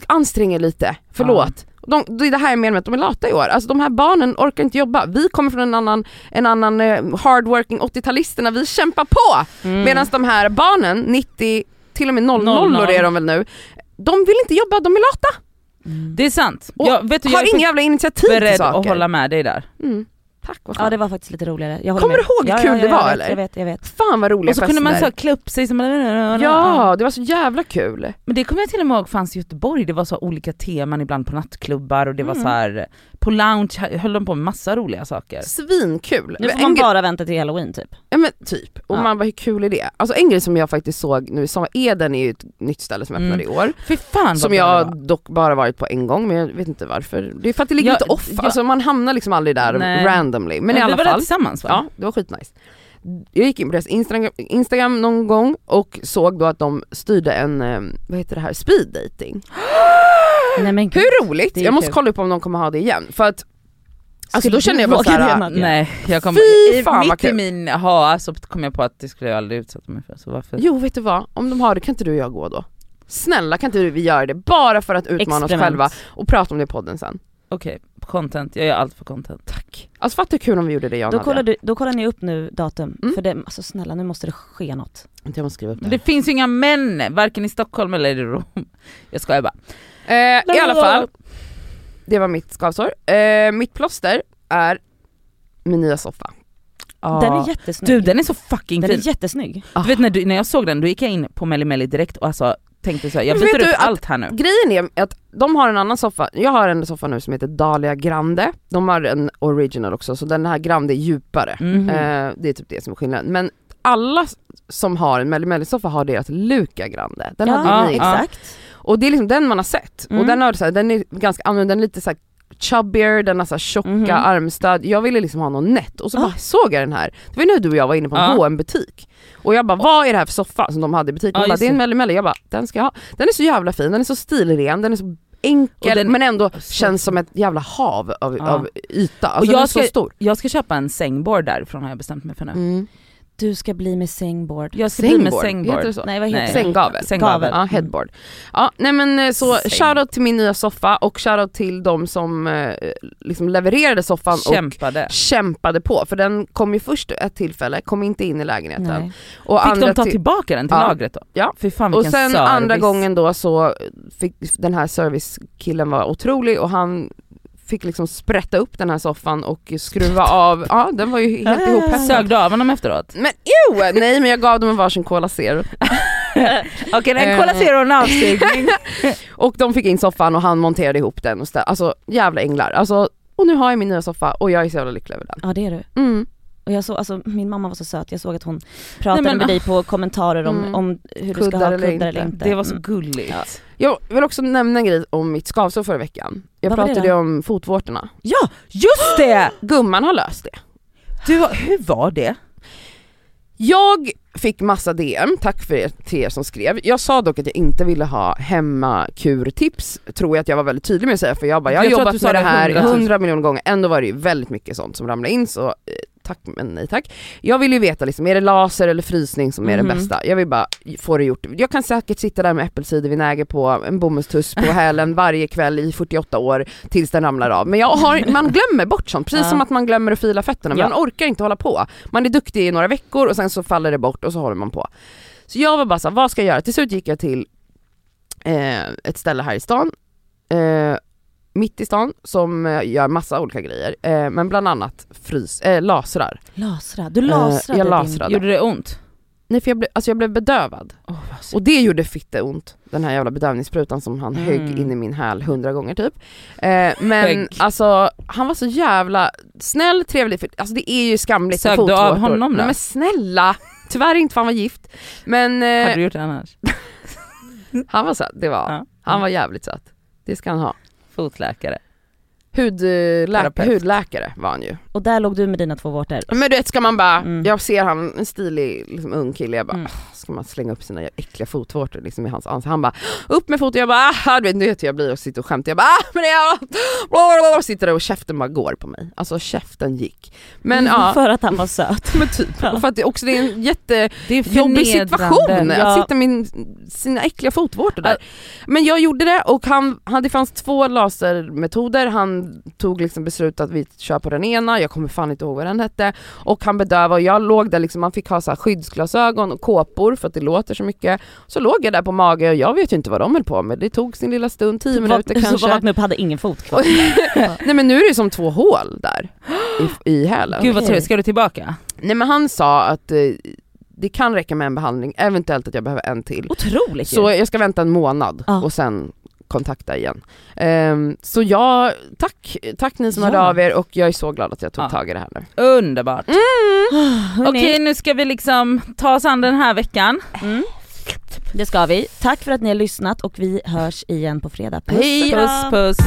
D: ansträng er lite, förlåt. De, det är det här jag menar med att de är lata i år. Alltså de här barnen orkar inte jobba. Vi kommer från en annan, en annan eh, hardworking 80-talisterna, vi kämpar på!
A: Mm.
D: Medan de här barnen, 90, till och med 00
B: 00.
D: är de väl nu, de vill inte jobba, de är lata.
A: Mm.
B: Det är sant.
D: Och
B: Jag, vet du, jag
D: Har
B: är
D: inga jävla initiativ
B: faktiskt
D: till
B: beredd
D: saker.
B: att hålla med dig där.
D: Mm. Tack vad skönt.
A: Ja det var faktiskt lite roligare. Jag håller
D: Kommer
A: med.
D: du ihåg hur
A: ja,
D: kul
A: ja, ja,
D: det
A: jag
D: var,
A: vet,
D: eller?
A: Jag vet, jag vet.
D: Fan vad roliga
B: Och så kunde man så
D: fester.
B: här klä upp sig som...
D: Ja, det var så jävla kul.
B: Men det kommer jag till och med ihåg fanns i Göteborg, det var så olika teman ibland på nattklubbar och det var
A: Mm.
B: så här på lounge höll de på med massa roliga saker.
D: Svinkul.
A: Nu får
D: En
A: man
D: gre-
A: bara vänta till halloween typ.
D: Ja men typ, och
A: Ja.
D: man bara hur kul är det? Alltså en grej som jag faktiskt såg nu i sommar, Eden är ju ett nytt ställe som öppnade i år.
B: Fy Mm. fan vad
D: Som
B: bra det
D: jag
B: var.
D: dock bara varit på en gång men jag vet inte varför. Det är för att det ligger
B: Ja,
D: lite off,
B: ja.
D: alltså man hamnar liksom aldrig där
B: Nej.
D: randomly. Men, i
B: vi
D: alla
B: var där
D: fall.
B: tillsammans va?
D: Ja, det var skitnice. Jag gick in på deras Instagram, Instagram någon gång och såg då att de styrde en, eh, vad heter det här, speed dating.
A: Nej men gud.
D: Hur roligt!
A: det är
D: Jag måste
A: kul.
D: kolla upp om de kommer ha det igen för att Alltså
A: Skulle
D: då
A: du
D: känner jag bara
A: våga det,
D: såhär,
A: Nadja?
B: Nej, jag kommer,
D: Fy
B: i-
D: fan, vad
B: mitt i
D: kul.
B: min ha så kom jag på att det skulle jag aldrig utsätta mig för. Så varför?
D: jo vet du vad, om de har det kan inte du och jag gå då? Snälla kan inte du och vi göra det bara för att utmana oss
A: Experiment.
D: själva och prata om det i podden sen.
B: Okej, content. Jag gör allt för content. Tack.
D: Alltså fatta hur kul om vi gjorde det jag och
A: Då
D: Nadja.
A: kollar, du, då kollar ni upp nu datum,
D: Mm.
A: för det, alltså snälla nu måste det ske något.
D: Jag måste skriva upp det.
B: Men det finns ju inga män, varken i Stockholm eller i Rom. Jag skojar bara.
D: Eh, I alla
B: Lalalala.
D: fall, det var mitt skavsår. Eh, mitt plåster är min nya soffa. Ah.
A: Den
B: Ja.
A: är jättesnygg.
B: Du den är så fucking
A: den
B: fin.
A: är jättesnygg.
B: Du vet när, du, när jag såg den, då gick jag in på Melli Melli direkt och alltså tänkte såhär, jag
D: Men vet
B: byter
D: du
B: upp
D: att-
B: allt här nu.
D: Grejen är att de har en annan soffa, jag har en soffa nu som heter Dahlia Grande, de har en original också så den här Grande är djupare.
B: Mhm.
D: Eh, det är typ det som är skillnaden. Men alla s- som har en Melly Melly soffa har deras Luca Grande, den
A: ja,
D: hade ju ni.
A: exakt.
D: Och det är liksom den man har sett.
A: Mm.
D: Och den, har, så här, den är ganska annorlunda, den är lite så här chubbier, den har så här tjocka
A: Mhm.
D: armstöd. Jag ville liksom ha någon nätt och så
A: Ah.
D: bara såg jag den här. Det var ju nu du och jag var inne på en
B: Ja.
D: H&M butik Och jag bara, vad är det här för soffa som de hade i butiken?
B: Ja,
D: Hon bara,
B: just
D: det är en
B: det.
D: Melly Melly. Jag bara, den ska jag ha. Den är så jävla fin, den är så stilren, den är så enkel
B: Och den-
D: men ändå
B: Så-
D: känns som ett jävla hav av,
B: Ja.
D: av yta. Alltså
B: jag
D: den är så
B: ska-
D: stor.
B: Jag ska köpa en sängborr därifrån har jag bestämt mig för nu.
D: Mm.
A: Du ska bli med sängboard.
B: Jag ska bli med
D: Heter
B: sängborr.
D: det så?
A: Nej vad heter
B: Nej.
A: det?
D: Sänggavel.
B: Sänggavel.
D: Ja, headboard. Ja, nej men eh, så
B: Säng.
D: shoutout till min nya soffa och shoutout till de som eh, liksom levererade soffan och
B: Kämpade.
D: kämpade på för den kom ju först ett tillfälle, kom inte in i lägenheten.
A: Nej.
D: Och
B: Fick de ta
D: till-
B: tillbaka den till
D: Ja.
B: lagret då?
D: Ja.
B: Fy fan
D: och
B: vilken
D: sen
B: service.
D: andra gången då så fick den här servicekillen var otrolig och han fick liksom sprätta upp den här soffan och skruva av, ja den var ju
A: Ja, ja,
D: helt
A: ja.
B: Ah.
D: ihophettad.
B: Eh. Sög du av honom efteråt?
D: Men ew! Nej men jag gav dem en varsin Cola Zero.
B: Okej den
D: Eh.
B: kollar ser [laughs] hon avstigning.
D: Och de fick in soffan och han monterade ihop den och stä- alltså jävla änglar. Alltså, och nu har jag min nya soffa och jag är så jävla lycklig över den.
A: Ja det är du.
D: Mm.
A: Och jag såg, alltså, min mamma var så söt, jag såg att hon pratade
B: men-
A: med dig på kommentarer om,
D: ah. Mm.
A: om hur du ska
D: Kuddar
A: ha
D: eller
A: kuddar eller
D: inte.
A: inte.
B: Det var så
A: Mm.
B: gulligt.
D: Jag vill också nämna en grej om mitt skavsår förra veckan. Jag
A: Vad var det
D: pratade
A: då?
D: om fotvårtorna.
B: Ja, just det!
D: Gumman har löst det.
B: Du, hur var det?
D: Jag fick massa DM, tack för er, till er som skrev. Jag sa dock att jag inte ville ha hemmakurtips, tror jag att jag var väldigt tydlig med att säga för jag bara, jag har
B: Jag tror att du
D: jobbat
B: sa
D: med det
B: det
D: här
B: 100 000.
D: hundra miljoner gånger, ändå var det ju väldigt mycket sånt som ramlade in så eh, tack men nej tack. Jag vill ju veta liksom, är det laser eller frysning som är det
B: Mhm.
D: bästa? Jag vill bara få det gjort. Jag kan säkert sitta där med äppelcidervinäger på en bomullstuss på [laughs] hälen varje kväll i 48 år tills den ramlar av. Men
A: [laughs]
D: jag har, man glömmer bort sånt, precis
A: Ja.
D: som att man glömmer att fila fötterna,
A: Ja.
D: man orkar inte hålla på. Man är duktig i några veckor och sen så faller det bort och så håller man på. Så jag var bara såhär, vad ska jag göra? Till slut gick jag till eh, ett ställe här i stan, eh, mitt i stan, som eh, gör massa olika grejer. Eh, men bland annat frys, eh, lasrar.
A: Lasra, du
D: Eh,
A: lasrade
D: jag
A: din...
D: lasrade.
B: Gjorde det ont?
D: Nej för jag, ble, alltså jag blev bedövad.
B: Åh, vad synd.
D: Och det gjorde fitteont, den här jävla bedövningssprutan som han
B: Mm.
D: högg in i min häl hundra gånger typ. Eh, men
B: Högg.
D: alltså han var så jävla snäll, trevlig, för, alltså det är ju skamligt med
B: Sög du av
D: fotvårtor.
B: honom då?
D: Nej men snälla! Tyvärr inte för han var gift. Men
B: Hade
D: eh,
B: du gjort det annars?
D: han var söt, det var han.
B: Ja.
D: Han var jävligt söt. Det ska han ha.
B: Fotläkare.
D: Hudlä
B: Terapeut.
D: hudläkare var han ju.
A: Och där låg du med dina två vårtor.
D: Men du vet ska man bara,
A: Mm.
D: jag ser han, en stilig liksom, ung kille, jag bara
A: Mm.
D: "Ah, ska man slänga upp sina äckliga fotvårtor liksom, i hans ansikte. Han bara upp med foten, jag bara ah, du vet, nu vet hur jag blir och sitter och skämtar. Jag bara ah, men jag blablabla, sitter där och käften bara går på mig. Alltså käften gick. Men ja,
A: [laughs] För att han var söt.
D: [laughs] men typ. Och för att det också det är en jättejobbig
B: Det är
D: situation
A: Ja.
D: att sitta med min- sina äckliga fotvårtor där. Men jag gjorde det och han, han, det fanns två lasermetoder, han tog liksom beslut att vi kör på den ena, jag kommer fan inte ihåg vad den hette, och han bedövade och jag låg där liksom, man fick ha så här skyddsglasögon och kåpor för att det låter så mycket. Så låg jag där på mage och jag vet ju inte vad de höll på med, det tog sin lilla stund,
B: [laughs]
D: tio minuter
A: Så
D: kanske.
A: vaknade upp hade ingen fot kvar.
D: Nej men nu är det som två hål där i, i
B: [gasps]
D: hälen.
B: Gud vad
A: Okej.
B: trevligt, ska du tillbaka?
D: Nej men han sa att eh, det kan räcka med en behandling, eventuellt att jag behöver en till.
A: Otroligt ju.
D: Så jag ska vänta en månad
A: Ja.
D: och sen kontakta igen. Ehm, så ja, tack, tack ni som
A: Ja.
D: hörde av er och jag är så glad att jag tog
B: Ja.
D: tag i det här nu.
B: Underbart.
A: Hörni,
B: Okej nu ska vi liksom ta oss an den här veckan.
A: mm. det ska vi. Tack för att ni har lyssnat och vi hörs igen på fredag. Puss
D: Hej
A: och kram.
B: Puss puss.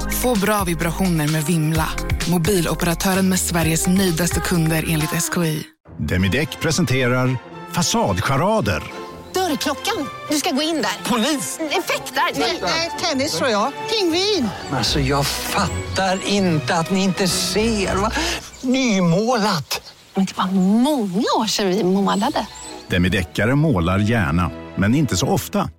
E: Få bra vibrationer med Vimla. Mobiloperatören med Sveriges nöjdaste kunder enligt SKI.
F: Demideck presenterar Fasadcharader.
G: Dörrklockan. Du ska gå in där. Polis? Effektar? Nej, tennis tror jag. Pingvin.
H: Alltså jag fattar inte att ni inte ser. Va? Nymålat!
G: Men det var många år sedan vi målade.
F: Demideckare målar gärna, men inte så ofta.